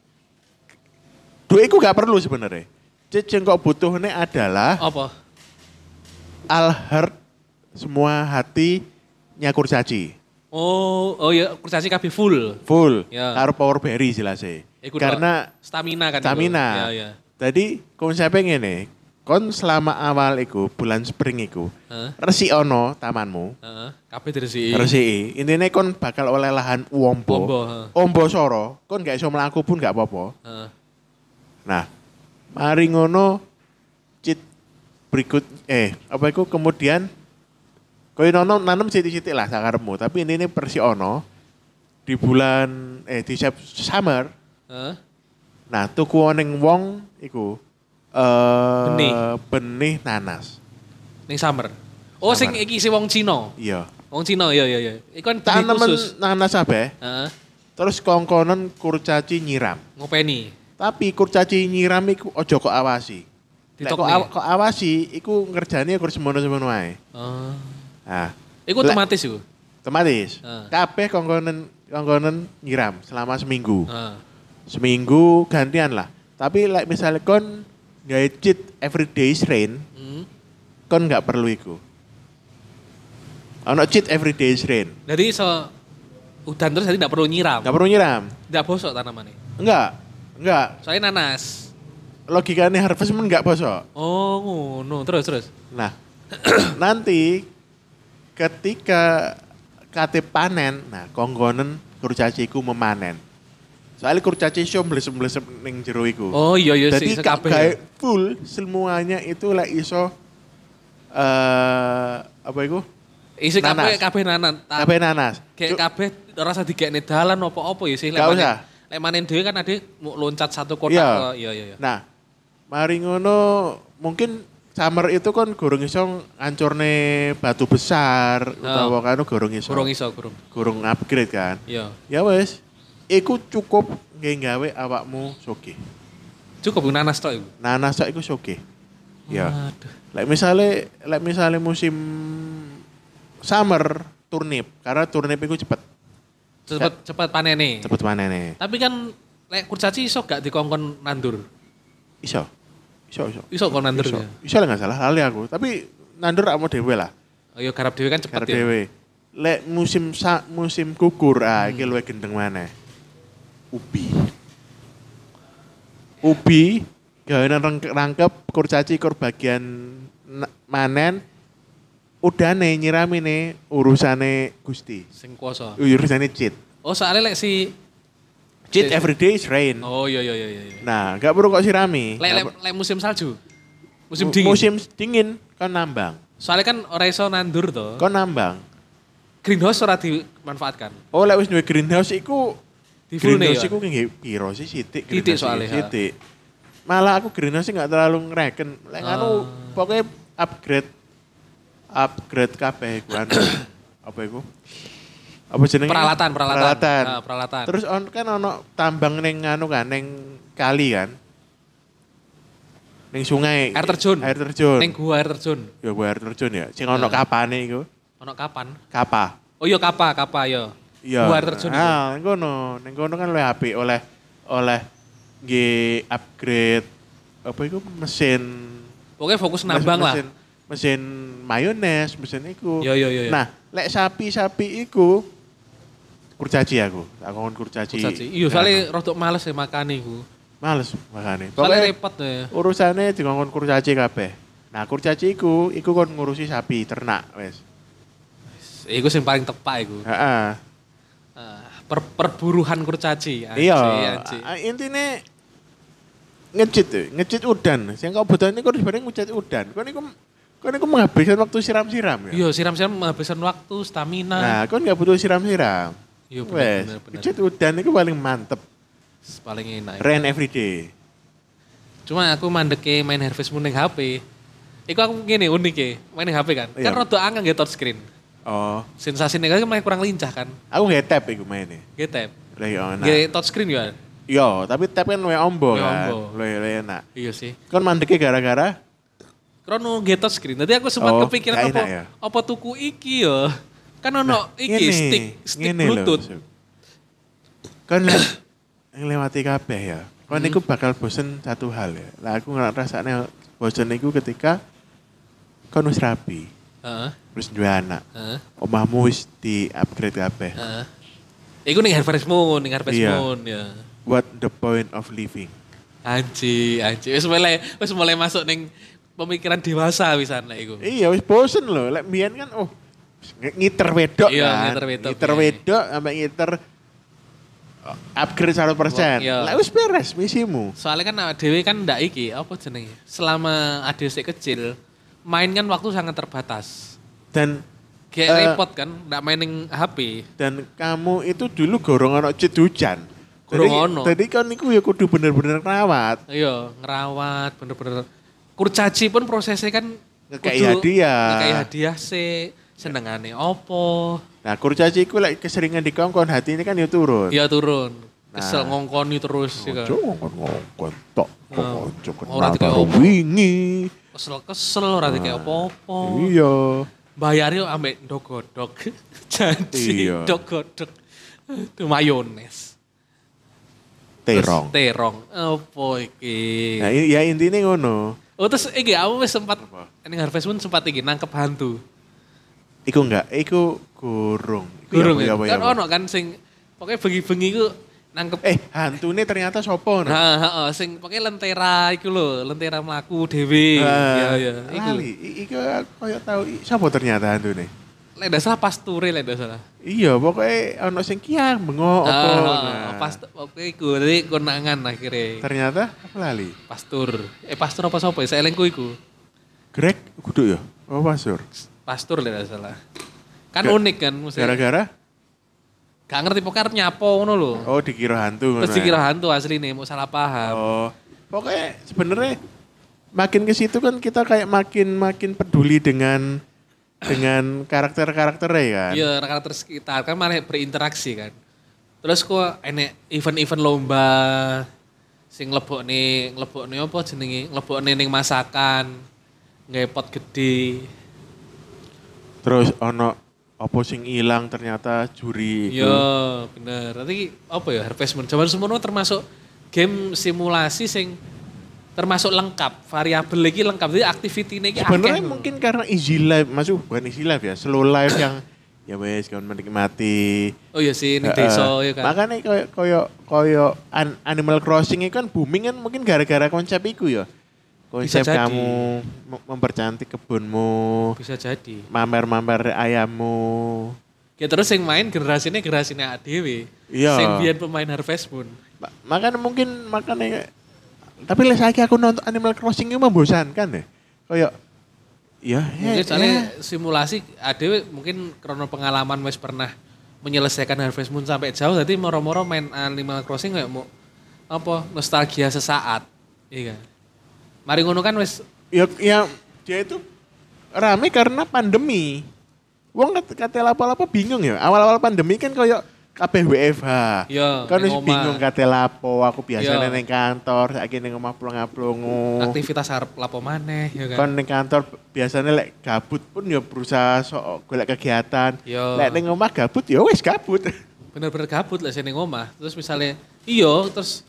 S3: duit iku gak perlu sebenere. Cheat sing kok butuhne adalah
S2: Apa?
S3: al heart semua hati nyakur caci.
S2: Oh, oh ya kurcaci kabeh full.
S3: Full.
S2: Ya.
S3: Karo power berry jelasnya.
S2: Iku tok.
S3: Karena
S2: stamina kan. itu.
S3: stamina.
S2: Ya, ya.
S3: Tadi konsepnya ngene, kon selama awal iku bulan spring iku
S2: Heeh.
S3: resi ono tamanmu.
S2: Heeh. Kabeh diresiki.
S3: Resi. Intine kon bakal oleh lahan uombo.
S2: Ombo,
S3: Ombo,
S2: heeh.
S3: soro, kon gak iso mlaku pun gak apa-apa.
S2: Heeh.
S3: Nah, mari ngono cit berikut eh apa iku kemudian koyo nono nanem sithik-sithik lah sakarepmu, tapi intine persi ono di bulan eh di Sep- summer.
S2: Heeh.
S3: Nah, tuku oneng wong iku eh
S2: Benih.
S3: benih nanas.
S2: Ning summer. Oh, sing
S3: Summer.
S2: iki si wong Cina.
S3: Iya.
S2: Wong Cina, ya ya ya. Iku kan benih
S3: Tanemen
S2: khusus.
S3: nanas abe,
S2: Heeh.
S3: terus kongkonen kurcaci nyiram.
S2: Ngopeni.
S3: Tapi kurcaci nyiram iku ojo kok awasi. Lek kok,
S2: Ditokne.
S3: aw- kok awasi, iku ngerjane kursi semono-semono wae.
S2: Oh.
S3: Nah,
S2: Iku
S3: Lek-
S2: Eh, otomatis iku.
S3: otomatis.
S2: Ah.
S3: Kabeh kongkonen kongkonen nyiram selama seminggu.
S2: Heeh.
S3: Seminggu gantian lah. Tapi lek misalnya kon gawe cheat every day's rain,
S2: Hmm.
S3: kon nggak perlu iku. Ono cheat every day's rain.
S2: Jadi so udan terus jadi tidak perlu nyiram.
S3: Nggak perlu nyiram.
S2: Tidak bosok tanamannya.
S3: Enggak. Enggak.
S2: Soalnya nanas.
S3: logikanya Harvest Moon nggak bosok.
S2: Oh, ngono. Terus terus.
S3: Nah, nanti ketika kate panen, nah konggonen kurcaciku memanen. Soalnya kurcaci iso mlesem-mlesem ning jero iku.
S2: Oh, iya iya
S3: Jadi
S2: sih
S3: gak
S2: kabeh.
S3: gawe full semuanya itu lek iso eh apa iku?
S2: Isi kabeh
S3: nanas.
S2: kabeh nanan. Ta-
S3: Kabeh nanas.
S2: Kayak
S3: Cuk,
S2: kabeh ora usah digekne dalan apa-apa ya sih
S3: Gak
S2: manen-
S3: usah.
S2: Lek manen dhewe kan ade mau loncat satu kotak.
S3: Iya.
S2: Oh, Iya iya iya.
S3: Nah, mari ngono mungkin summer itu kan gorong iso ngancurne batu besar
S2: Oh.
S3: utawa kan gorong iso.
S2: Kurung iso kurung.
S3: gorong upgrade kan.
S2: Iya.
S3: Ya wes, iku cukup nggih gawe awakmu soge.
S2: Cukup nanas tok iku.
S3: Nanas sak iku soge. Ya.
S2: Aduh.
S3: Lek misale lek misale musim summer turnip, karena turnip iku cepet,
S2: Cepet cepet panene.
S3: Ya. cepet manene.
S2: Tapi kan lek kurcaci iso gak dikongkon nandur.
S3: Iso. Iso iso.
S2: Iso kon nandur.
S3: Iso,
S2: ya?
S3: iso lah nggak salah lali aku, tapi nandur akmu dhewe lah,
S2: Oh, Iya garap dhewe kan cepet
S3: karena
S2: ya.
S3: dhewe. Lek musim sa, musim kukur, ah iki luwih gendeng maneh. Ubi. Ubi gawean rangkep, rangkep kurcaci kur bagian na- manen udane nyiramine urusane Gusti.
S2: Sing kuasa.
S3: Urusane cheat.
S2: Oh, soalnya lek si
S3: Cheat every day is rain.
S2: Oh, iya iya iya iya. iya.
S3: Nah, gak perlu kok sirami.
S2: Lek lek
S3: Nggak per-
S2: lek musim salju. Musim
S3: mu-
S2: dingin.
S3: Musim dingin kan nambang.
S2: Soalnya kan ora iso nandur to.
S3: Kon nambang.
S2: Greenhouse ora dimanfaatkan.
S3: Oh, lek wis duwe greenhouse iku
S2: Di full nih. ya.
S3: greenhouse iku nggih piro sih sithik
S2: Sithik
S3: greenhouse
S2: soalnya, ha.
S3: iki, sithik. Malah aku greenhouse nggak terlalu ngereken. Lek
S2: Ah.
S3: anu pokoknya upgrade upgrade kabeh iku anu. apa iku? Apa jenenge?
S2: Peralatan, peralatan.
S3: Peralatan.
S2: Ah, peralatan.
S3: Terus on kan ono tambang ning anu kan ning kali kan. Ning sungai.
S2: Air terjun.
S3: Air terjun.
S2: Ning gua air terjun.
S3: Ya gue air terjun ya. Sing ono
S2: Ah.
S3: kapane iku.
S2: Ono kapan?
S3: Kapa.
S2: Oh iya kapa, kapa yo.
S3: Iya.
S2: Gua air terjun. iku.
S3: Nah, ning kono, ning kono kan oleh apik oleh oleh nggih upgrade apa iku mesin
S2: Pokoknya fokus nambang lah.
S3: mesin, Mesin mayones, mesin iku.
S2: Yo yo yo. yo.
S3: Nah, lek sapi-sapi iku kurcaci aku. Tak ngomong kurcaci.
S2: Kurcaci. Iya, soalnya
S3: Nah.
S2: rodok males ya makan iku.
S3: males makane.
S2: Soalnya
S3: Pokoke
S2: repot ya.
S3: urusane di ngomong kurcaci kabeh. Nah, kurcaci iku iku kon ngurusi sapi ternak wes.
S2: Iku sing paling tepak iku.
S3: Heeh.
S2: Ah, per- perburuhan kurcaci. Anjing,
S3: Iya,
S2: anjing.
S3: a- intine ngejit tuh, ngejit udan. Sing kau butuhin ini kau sebenarnya ngejit udan. Kau niku kau niku menghabiskan waktu siram-siram ya.
S2: Iya, siram-siram menghabiskan waktu, stamina.
S3: Nah, kau nggak butuh siram-siram.
S2: Iya, bener,
S3: Wes, gitu.
S2: bener, bener.
S3: ngejit udan itu paling mantep.
S2: Paling enak. iku.
S3: Rain every day.
S2: Cuma aku mandeke main Harvest Moon ning HP. Iku aku ngene unik ya, main ning HP kan. Kan
S3: Iya.
S2: rodok angin nggih touch screen.
S3: Oh,
S2: Sensasi nih kan malah kurang lincah kan.
S3: aku nggak tap iku mainnya.
S2: Nggih tap.
S3: Lagi enak.
S2: Nggih touch screen ya.
S3: Yo, tapi tap kan luwe
S2: Luwih
S3: ombo kan.
S2: ombo.
S3: Luwe luwe enak.
S2: Iya sih.
S3: Kau mandeknya gara-gara
S2: Krono nggih touch screen. Tadi aku sempat
S3: Oh,
S2: kepikiran apa
S3: nggak enak ya? Nah,
S2: apa tuku iki ya. Kan ono iki
S3: ngene,
S2: stick, stick
S3: ngene lho,
S2: Bluetooth.
S3: Sup. Kan le- ngelewati kabeh ya.
S2: Hmm.
S3: Kan niku bakal bosen satu hal ya. Lah aku ngerasane bosen niku ketika kon wis rapi,
S2: Heeh.
S3: wis duwe anak.
S2: Heeh.
S3: Omahmu wis di-upgrade kabeh.
S2: heeh. Iku ning Harvest Moon, ning Harvest
S3: Iya.
S2: Moon ya.
S3: What the point of living?
S2: Anji, anji. Wis mulai wis mulai masuk ning pemikiran dewasa wisan lek iku.
S3: Iya wis bosen lho. Lek mbiyen kan oh wis nge- ngiter wedok
S2: Iya,
S3: kan.
S2: ngiter wedok,
S3: Ngiter
S2: iya.
S3: wedok sampai ngiter oh, upgrade 100%.
S2: Iya.
S3: Lah wis beres misimu.
S2: Soalnya kan awak dhewe kan ndak iki apa jenenge? Selama ade sik kecil, main kan waktu sangat terbatas.
S3: Dan
S2: Kayak
S3: Eh.
S2: repot kan ndak main ning HP.
S3: dan kamu itu dulu gorong ono jet hujan.
S2: Gorong
S3: Jadi-
S2: ono.
S3: Jadi kan niku ya kudu bener-bener rawat.
S2: Iya, ngerawat bener-bener. Kurcaci pun prosesnya kan kudu
S3: Ngekei hadiah.
S2: Ngekei hadiah sik, senengane opo.
S3: Nah kurcaci iku lek keseringan dikongkon hati ini kan ya turun.
S2: Ya turun.
S3: Nah.
S2: Kesel ngongkoni terus sih kan.
S3: Ojo ngongkon-ngongkon tok. Kok
S2: Nah,
S3: Ojo
S2: ora
S3: kenal
S2: dikei
S3: karo
S2: opo.
S3: wingi.
S2: Kesel-kesel ora kayak opo-opo.
S3: Iya.
S2: Bayarnya ambek dogodok. Janji
S3: Iya.
S2: dogodok. Itu mayones. Terus
S3: Terong.
S2: Terong. Apa iki?
S3: Nah i- ya intinya ngono.
S2: Oh terus iki aku wis sempat
S3: Apa?
S2: ning Harvest Moon sempat iki nangkep hantu.
S3: Iku enggak, iku gorong. Iku
S2: Durung ya.
S3: ya apa, ya apa, ya
S2: Kan
S3: apa.
S2: ono kan sing pokoknya bengi-bengi ku nangkep
S3: Eh, hantune ternyata sopo no?
S2: Nah, heeh, sing pokoke lentera iku lho, lentera mlaku dhewe. Iya,
S3: Ah,
S2: iya. Iku.
S3: Lali, I- iku koyo tau i- sopo ternyata hantune.
S2: Lek ndak salah pasture lek ndak salah.
S3: Iya, pokoknya ono sing kiang bengo apa.
S2: Heeh,
S3: nah.
S2: pas oke iku dadi konangan akhirnya.
S3: Ternyata apa lali?
S2: Pastur. Eh pastur apa sapa? Saya elengku iku.
S3: Greg kudu ya. Oh, pasur.
S2: Pastur lek ndak salah. Kan
S3: Ga-
S2: unik kan maksudnya.
S3: Gara-gara
S2: Gak ngerti pokoknya arep nyapo ngono lho.
S3: oh dikira hantu.
S2: Terus
S3: ngono ya.
S2: dikira hantu asline mau salah paham.
S3: Oh, pokoknya sebenarnya makin ke situ kan kita kayak makin makin peduli dengan dengan karakter-karakternya kan.
S2: Iya, karakter sekitar kan malah berinteraksi kan. Terus kok enek event-event lomba sing ngelebok nih, ngelebok nih apa jenenge, ngelebok nih ning masakan, ngepot gede.
S3: Terus ono apa sing ilang ternyata juri itu.
S2: Iya, bener. Nanti apa ya Harvest Moon. Zaman semono termasuk game simulasi sing termasuk lengkap, variabel lagi lengkap. Jadi aktivitine iki
S3: Sebenarnya
S2: akeh.
S3: mungkin karena easy life, masuk bukan easy life ya, slow life yang ya wes kan menikmati.
S2: Oh iya sih ning
S3: Heeh.
S2: desa ya kan.
S3: Makanya koyo koyo koyo An- Animal Crossing itu kan booming kan mungkin gara-gara konsep itu ya. Konsep
S2: jadi.
S3: kamu mem- mempercantik kebunmu,
S2: Bisa jadi.
S3: mamer-mamer ayammu.
S2: Ya terus yang main generasinya generasinya ADW.
S3: Iya.
S2: Sing biyen pemain Harvest Moon.
S3: Ma- Makanya mungkin makanya tapi lah saiki aku nonton Animal Crossing itu membosankan ya. Kayak ya
S2: Mungkin
S3: ya,
S2: soalnya
S3: ya.
S2: simulasi ADW mungkin karena pengalaman wes pernah menyelesaikan Harvest Moon sampai jauh jadi moro-moro main Animal Crossing kayak mau apa nostalgia sesaat. Iya kan. Mari ngono kan wes
S3: ya, ya, dia itu rame karena pandemi. Wong kat- kate lapo-lapo bingung ya. Awal-awal pandemi kan kayak kabeh WFH.
S2: Iya,
S3: kan wis
S2: neng omah.
S3: bingung kate lapo, aku biasanya
S2: Iya.
S3: neng kantor, saiki ning omah plong-aplongo.
S2: aktivitas harap lapo maneh ya kan.
S3: Oh. Kan ning kantor biasanya lek gabut pun ya berusaha sok golek kegiatan.
S2: Iya.
S3: Lek ning omah gabut ya wis gabut.
S2: Bener-bener gabut lah sini ngomah. Terus misalnya iya terus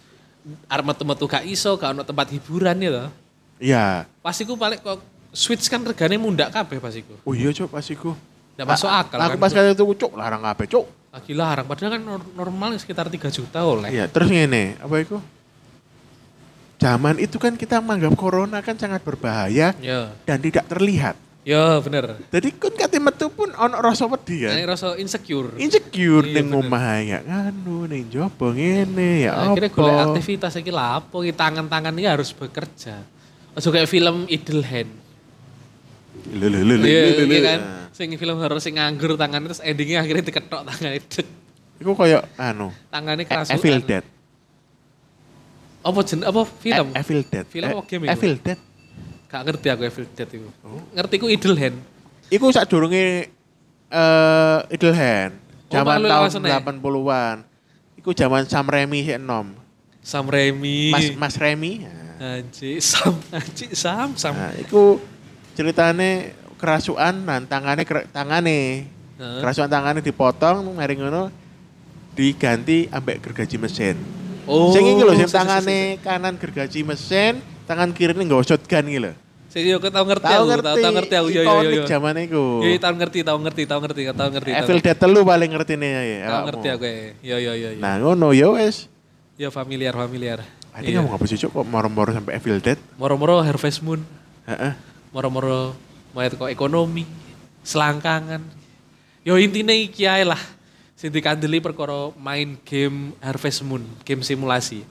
S2: arep metu-metu gak iso, gak ono tempat hiburan ya loh.
S3: Iya.
S2: Pas iku paling kok switch kan regane mundak kabeh pas iku.
S3: Oh iya cok pas iku.
S2: Nggak masuk
S3: A-
S2: akal
S3: Aku
S2: kan,
S3: pas
S2: Cuk.
S3: kata itu cok larang apa cok.
S2: Lagi larang padahal kan nor- normal sekitar 3 juta oleh.
S3: Iya terus ngene apa iku? Zaman itu kan kita menganggap corona kan sangat berbahaya
S2: Ya.
S3: dan tidak terlihat.
S2: Ya bener.
S3: Jadi kan kate metu pun ono rasa wedi kan.
S2: Ini rasa insecure.
S3: Insecure
S2: Iya,
S3: ning
S2: bener.
S3: omah ya nganu ning jopo ngene ya
S2: Nah, Akhirnya golek
S3: apa.
S2: aktivitas iki lapo iki tangan-tangan ini harus bekerja. Ojo kayak film Idle Hand.
S3: Lho, lho, lho, lho, lho,
S2: Iya
S3: lho.
S2: iya kan.
S3: Nah,
S2: Sing film horor sing nganggur tangannya terus endingnya akhirnya diketok tangannya. Dek.
S3: Iku koyo anu.
S2: Tangannya kerasukan.
S3: Evil Dead.
S2: Apa jen apa film?
S3: E- Evil Dead.
S2: Film
S3: E-
S2: apa game iku?
S3: Evil Dead.
S2: Gak ngerti aku Evil Dead itu.
S3: Oh.
S2: Ngerti ku Idle Hand.
S3: Iku sak durunge eh Idle Hand.
S2: Oh,
S3: Zaman
S2: malu
S3: tahun
S2: langsung, eh?
S3: 80-an. Iku zaman Sam Remi sik enom.
S2: Sam Raimi.
S3: Mas Mas Remi.
S2: Iya.
S3: Nah,
S2: Anji, Sam, Anji, Sam, Sam.
S3: Nah, iku ceritane kerasukan nan tangane kera- tangane.
S2: Heeh.
S3: Kerasukan tangane dipotong mari ngono diganti ambek gergaji mesin.
S2: Oh,
S3: sing iki lho
S2: sik, sik,
S3: sing
S2: sik,
S3: tangane kanan gergaji mesin, tangan kirine nggawa shotgun iki lho.
S2: Sing yo tau ngerti
S3: Tahu
S2: aku,
S3: ngerti.
S2: tau, tau ngerti aku. Iya, Yo yo yo.
S3: Ikonik
S2: yo.
S3: zaman iku.
S2: Yo yo, Iya, tau ngerti, tau ngerti, tau ngerti, tau ngerti. tau
S3: Evil
S2: ngerti.
S3: Dead telu paling ngertine ya.
S2: Tau
S3: awakmu.
S2: ngerti aku. eh. Yo yo yo yo.
S3: Nah, ngono ya wis.
S2: Yo familiar, familiar.
S3: Tadi
S2: Iya.
S3: ngomong apa sih, Cuk? Kok moro-moro sampai Evil Dead?
S2: Moro-moro Harvest Moon,
S3: Heeh.
S2: moro-moro mayat kok ekonomi, selangkangan. Yo intinya iki ae lah. Sing dikandeli perkara main game Harvest Moon, game simulasi.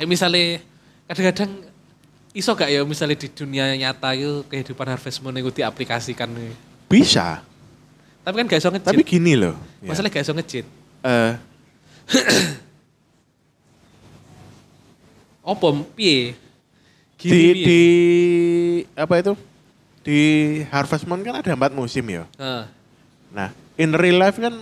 S2: Lek misalnya kadang-kadang iso gak ya misalnya di dunia nyata yo kehidupan Harvest Moon itu diaplikasikan. yo?
S3: Bisa.
S2: Tapi kan gak iso ngejit.
S3: Tapi gini loh. Ya.
S2: Masalah gak iso ngejit.
S3: Eh,
S2: Opo piye? Gini
S3: di,
S2: piye?
S3: di apa itu? Di Harvest Moon kan ada empat musim ya.
S2: Heeh.
S3: Nah, in real life kan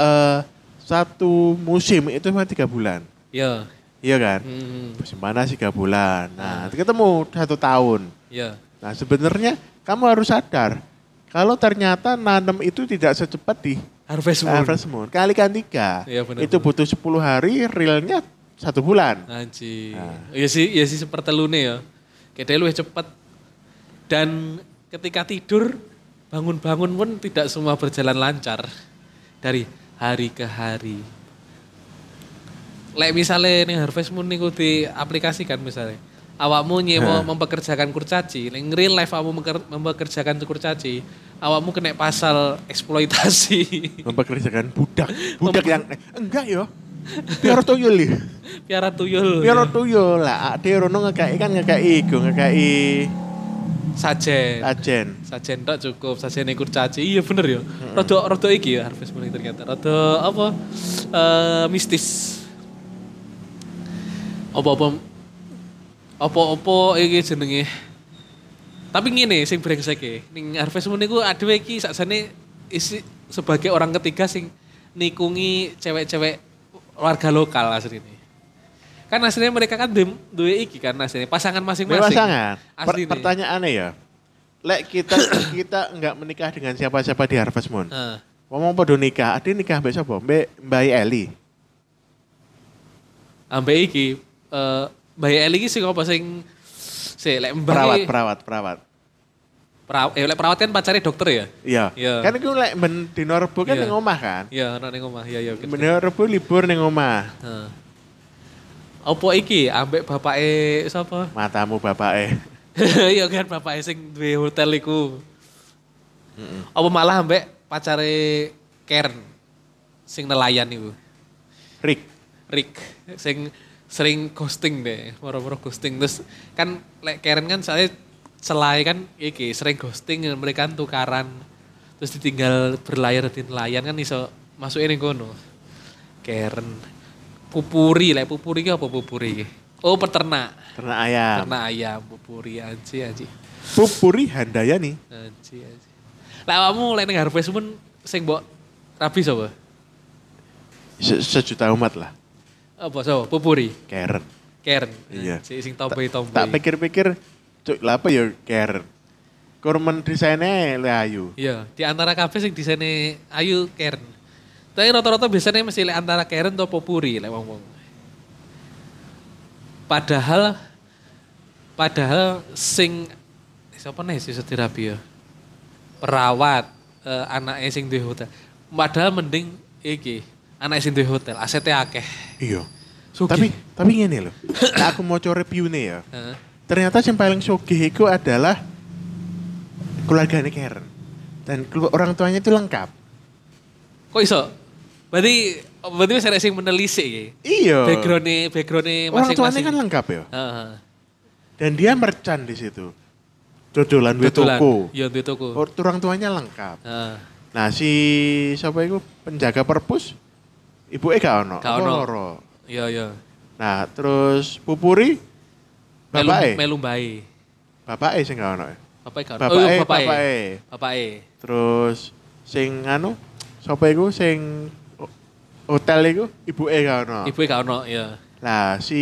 S3: eh satu musim itu cuma tiga bulan.
S2: ya.
S3: Iya kan?
S2: Hmm,
S3: Musim panas tiga bulan. Nah, ketemu satu tahun.
S2: ya.
S3: Nah, sebenarnya kamu harus sadar kalau ternyata nanam itu tidak secepat di
S2: Harvest Moon.
S3: Harvest Moon. Kalikan tiga.
S2: Iya, benar,
S3: itu
S2: benar.
S3: butuh 10 hari, realnya satu bulan.
S2: Anji.
S3: Nah.
S2: Ya sih, ya sih sepertelune ya. Kayaknya luwih cepet. Dan ketika tidur, bangun-bangun pun tidak semua berjalan lancar. Dari hari ke hari. lek misalnya nih Harvest Moon niku diaplikasikan misalnya awakmu nyewa mempekerjakan kurcaci ning real life awakmu meker- mempekerjakan kurcaci awakmu kena pasal eksploitasi
S3: Mempekerjakan budak. Budak yang eh, enggak yo. Biar tuyul ya.
S2: Oh, piara tuyul
S3: Biar tuyul lah. Ade rono ngekei kan ngekei iku ngekei
S2: sajen
S3: ajen.
S2: sajen tok cukup sajen yang kurcaci iya bener ya rada rada iki ya Harvest Moon iki ternyata rada apa eh, mistis apa-apa apa-apa iki jenenge tapi ngene sing brengsek e ning Harvest Moon niku adewe iki sakjane isi sebagai orang ketiga sing nikungi cewek-cewek warga lokal asline kan aslinya mereka kan duwe- duwe iki kan aslinya pasangan masing-masing
S3: Bebas sangat. Per
S2: Asline.
S3: pertanyaannya ya. Lek kita kita enggak menikah dengan siapa-siapa di Harvest Moon.
S2: Heeh.
S3: Ngomong podo nikah, ade nikah mbek sapa? Mbek Mbak Eli.
S2: Ambek iki eh Mbak Eli iki sing apa sing sik lek mbah
S3: Perawat,
S2: iki-
S3: perawat, perawat.
S2: peraw- eh lek perawat kan pacare dokter ya?
S3: Iya.
S2: Iya.
S3: Kan iku lek ben dino rebo kan
S2: Iya.
S3: ning omah kan.
S2: Iya, ana ning omah. Iya, iya. oke.
S3: Dino rebo libur ning omah.
S2: Heeh. Apa iki ambek bapake sapa?
S3: Matamu bapake.
S2: Iya kan bapake sing duwe hotel iku. Apa malah ambek pacare Kern sing nelayan iku.
S3: Rick.
S2: Rick sing sering ghosting deh, moro-moro ghosting terus kan lek Karen kan saya selai kan iki sering ghosting dan mereka kan tukaran terus ditinggal berlayar di nelayan kan iso masukin yang kono Karen pupuri lek pupuri ki apa pupuri ki? oh peternak
S3: Ternak ayam.
S2: peternak ayam pupuri anji anji
S3: Pupuri Handayani.
S2: anji anji lek kamu lek ning harvest pun sing mbok rabi sapa
S3: Se- sejuta umat lah.
S2: apa sapa pupuri
S3: Karen.
S2: Karen
S3: Iya.
S2: Anji, sing
S3: Ta-
S2: tomboy-tomboy
S3: Tak pikir-pikir, cuk, lah apa ya Karen? Kurmen desainnya le ayu.
S2: Iya, di antara kabeh sing desainnya Ayu Karen. Tapi rata-rata biasanya mesti lek antara Karen atau Popuri lek wong-wong. Padahal padahal sing siapa nih sih terapi ya? Perawat eh, anaknya sing di hotel. Padahal mending iki anak sing di hotel asetnya akeh.
S3: Iya.
S2: Sugih.
S3: Tapi tapi gini loh. Nah, aku mau coba review nih ya.
S2: Heeh.
S3: Ternyata yang paling sugih itu adalah keluarganya Karen. Dan kelu- orang tuanya itu lengkap.
S2: Kok iso? Berarti berarti wis ada sing menelisik iki.
S3: Iya.
S2: Background-e background-e
S3: Orang tuanya
S2: masing-masing.
S3: kan lengkap ya.
S2: Heeh.
S3: Dan dia merchant di situ. Dodolan duit
S2: Dodolan.
S3: toko. Oh.
S2: Iya, duwe toko.
S3: Or- Orang tuanya lengkap.
S2: Heeh.
S3: Nah si siapa itu penjaga perpus, ibu Eka ono,
S2: Gak
S3: apa
S2: ono.
S3: loro.
S2: Iya, iya.
S3: Nah terus pupuri,
S2: Melu
S3: bapak E,
S2: melu mbae.
S3: bapak E sing gak ono. ya.
S2: Bapak kan.
S3: Bapak E,
S2: bapak
S3: bapak
S2: e.
S3: E.
S2: Bapak e.
S3: Terus sing anu, siapa itu sing o- hotel itu ibu E gak ono.
S2: Ibu gak ono, ya.
S3: Nah si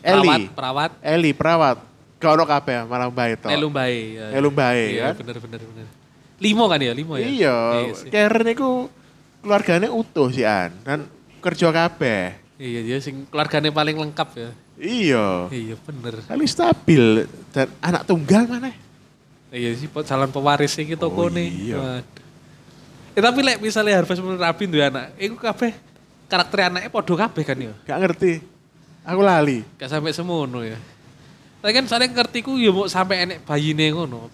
S2: Perawat,
S3: Eli,
S2: perawat
S3: Eli perawat, gak ono kabeh malah baik to.
S2: melu mbae. ya.
S3: Melu mbae,
S2: Iya,
S3: kan?
S2: bener bener bener. Limo kan ya, limo ya.
S3: Iya,
S2: sih.
S3: Karen itu keluarganya utuh sih an, dan kerja kabeh.
S2: Iya, iya sing keluargane paling lengkap ya.
S3: Iya.
S2: Iya, bener.
S3: Paling stabil dan anak tunggal mana?
S2: Iya sih pe- calon pewaris iki toko
S3: Oh,
S2: nih.
S3: iya.
S2: Waduh. Eh tapi lek misalnya Harvest Moon Rabi duwe anak, iku kabeh karakter anaknya padha kabeh kan ya.
S3: Gak ngerti. Aku lali.
S2: Gak sampai semono ya. Tapi kan soalnya ngerti ku ya mau sampai enek bayine ngono.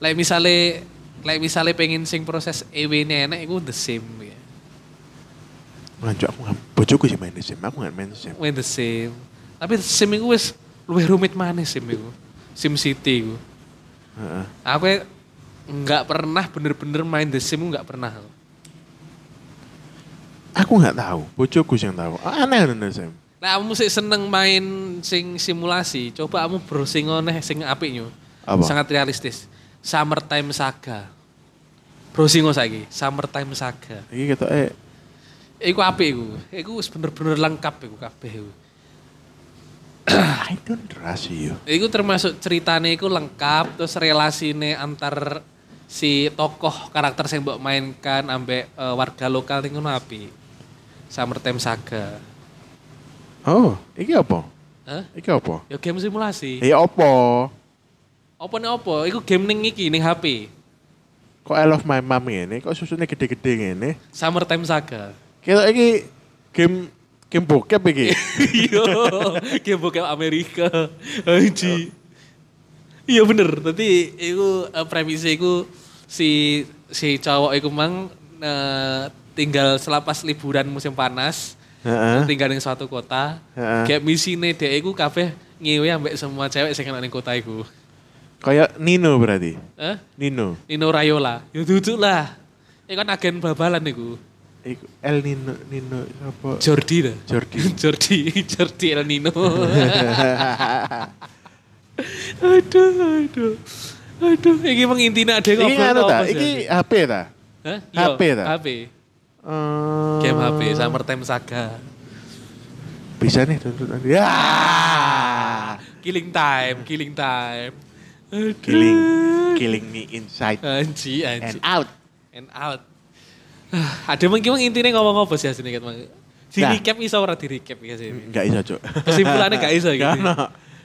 S2: Lek misale lek misale pengen sing proses EW-ne enek iku the same ya.
S3: Lanjut aku nggak bojoku sih main sim. Aku nggak main sim.
S2: Win the same. Tapi the same iku wis luwih rumit maneh sim iku. Sim City iku.
S3: Heeh.
S2: Aku ya nggak pernah bener-bener main the sim nggak pernah.
S3: Aku nggak tahu. Bojoku sih yang tahu. Ah, Aneh kan nih sim.
S2: Nah, kamu sih seneng main sing simulasi. Coba kamu browsing oneh sing apik yo.
S3: Apa?
S2: Sangat realistis. Summertime Saga. Browsing on saiki, Summertime Saga.
S3: Ini kita eh
S2: Iku apik iku. Iku wis bener-bener lengkap iku kabeh iku.
S3: I don't trust you.
S2: Iku termasuk ceritane iku lengkap terus relasine antar si tokoh karakter sing mbok mainkan ambek eh, warga lokal ning ngono apik. Summertime Saga.
S3: Oh, iki apa?
S2: Hah?
S3: Iki apa?
S2: Ya game simulasi.
S3: Eh apa?
S2: Apa nih apa? Iku game ning iki ning HP.
S3: Kok I love my mom ini? Kok susunya gede-gede ini?
S2: Summertime Saga.
S3: Kita ini game Game bokep iki.
S2: Iya, game bokep Amerika. Anji. Iya bener, tadi itu eh, premisnya itu si si cowok itu mang eh, tinggal selepas liburan musim panas,
S3: Heeh.
S2: tinggal di suatu kota.
S3: Heeh.
S2: Kayak misine dia iku kabeh ngewe ambek semua cewek sing ana ning kota iku.
S3: Kayak Nino berarti.
S2: Hah?
S3: Nino.
S2: Nino Rayola. Ya duduk lah. Iku kan agen babalan iku.
S3: Iku El Nino Nino apa?
S2: Jordi lah.
S3: Jordi.
S2: Jordi, Jordi El Nino. aduh, aduh. Aduh, ini emang intinya ada
S3: Iki
S2: ngobrol
S3: anu
S2: apa
S3: ta?
S2: sih,
S3: Iki
S2: Adi?
S3: HP ta?
S2: Hah?
S3: HP
S2: Iya,
S3: ta?
S2: HP.
S3: Eh,
S2: Game HP, Summertime Saga.
S3: Bisa nih download nanti. Ya. Ah.
S2: Killing Time, Killing Time. Aduh.
S3: Killing killing me inside
S2: Anji, anji.
S3: and out.
S2: and out. Ah, Ada mungkin emang intinya ngomong apa sih aslinya kan? Di
S3: Nah.
S2: recap iso ora di recap ya sih.
S3: Enggak iso, Cuk.
S2: Kesimpulannya nggak iso gitu.
S3: Nggak ono.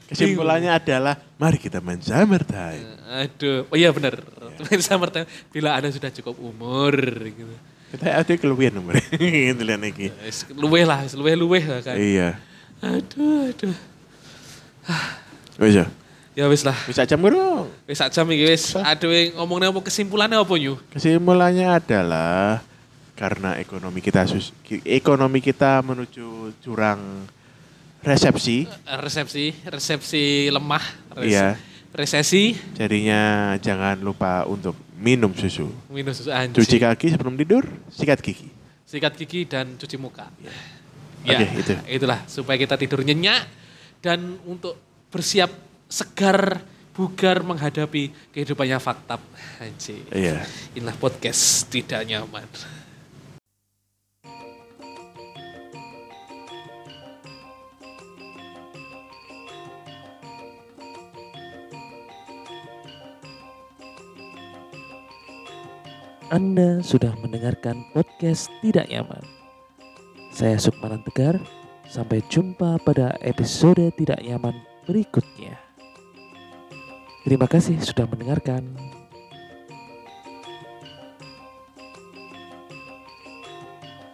S3: Kesimpulannya adalah mari kita main summertime.
S2: Aduh, oh iya benar. Main summertime bila Anda sudah cukup umur gitu.
S3: Kita ada keluhan nomor. Itu lihat iki.
S2: Wis, Luweh lah, wis luweh-luweh lah kan.
S3: Iya.
S2: Aduh, aduh.
S3: Wis ya.
S2: Ya wis lah.
S3: Bisa jam kurang.
S2: Wis sak jam iki wis. Aduh, ngomongnya apa kesimpulannya apa yu?
S3: Kesimpulannya adalah karena ekonomi kita sus- ki- ekonomi kita menuju jurang resepsi,
S2: Resepsi, resepsi lemah.
S3: Iya.
S2: Resesi,
S3: jadinya jangan lupa untuk minum susu,
S2: minus susu anjing.
S3: cuci kaki sebelum tidur, sikat gigi.
S2: sikat gigi dan cuci muka.
S3: Iya. Oke,
S2: Ya,
S3: itu.
S2: itulah supaya kita tidur nyenyak dan untuk bersiap segar bugar menghadapi kehidupannya faktab. Anjir.
S3: Iya.
S2: Inilah podcast tidak nyaman.
S4: Anda sudah mendengarkan podcast Tidak Nyaman. Saya Sukmanan Tegar. Sampai jumpa pada episode Tidak Nyaman berikutnya. Terima kasih sudah mendengarkan.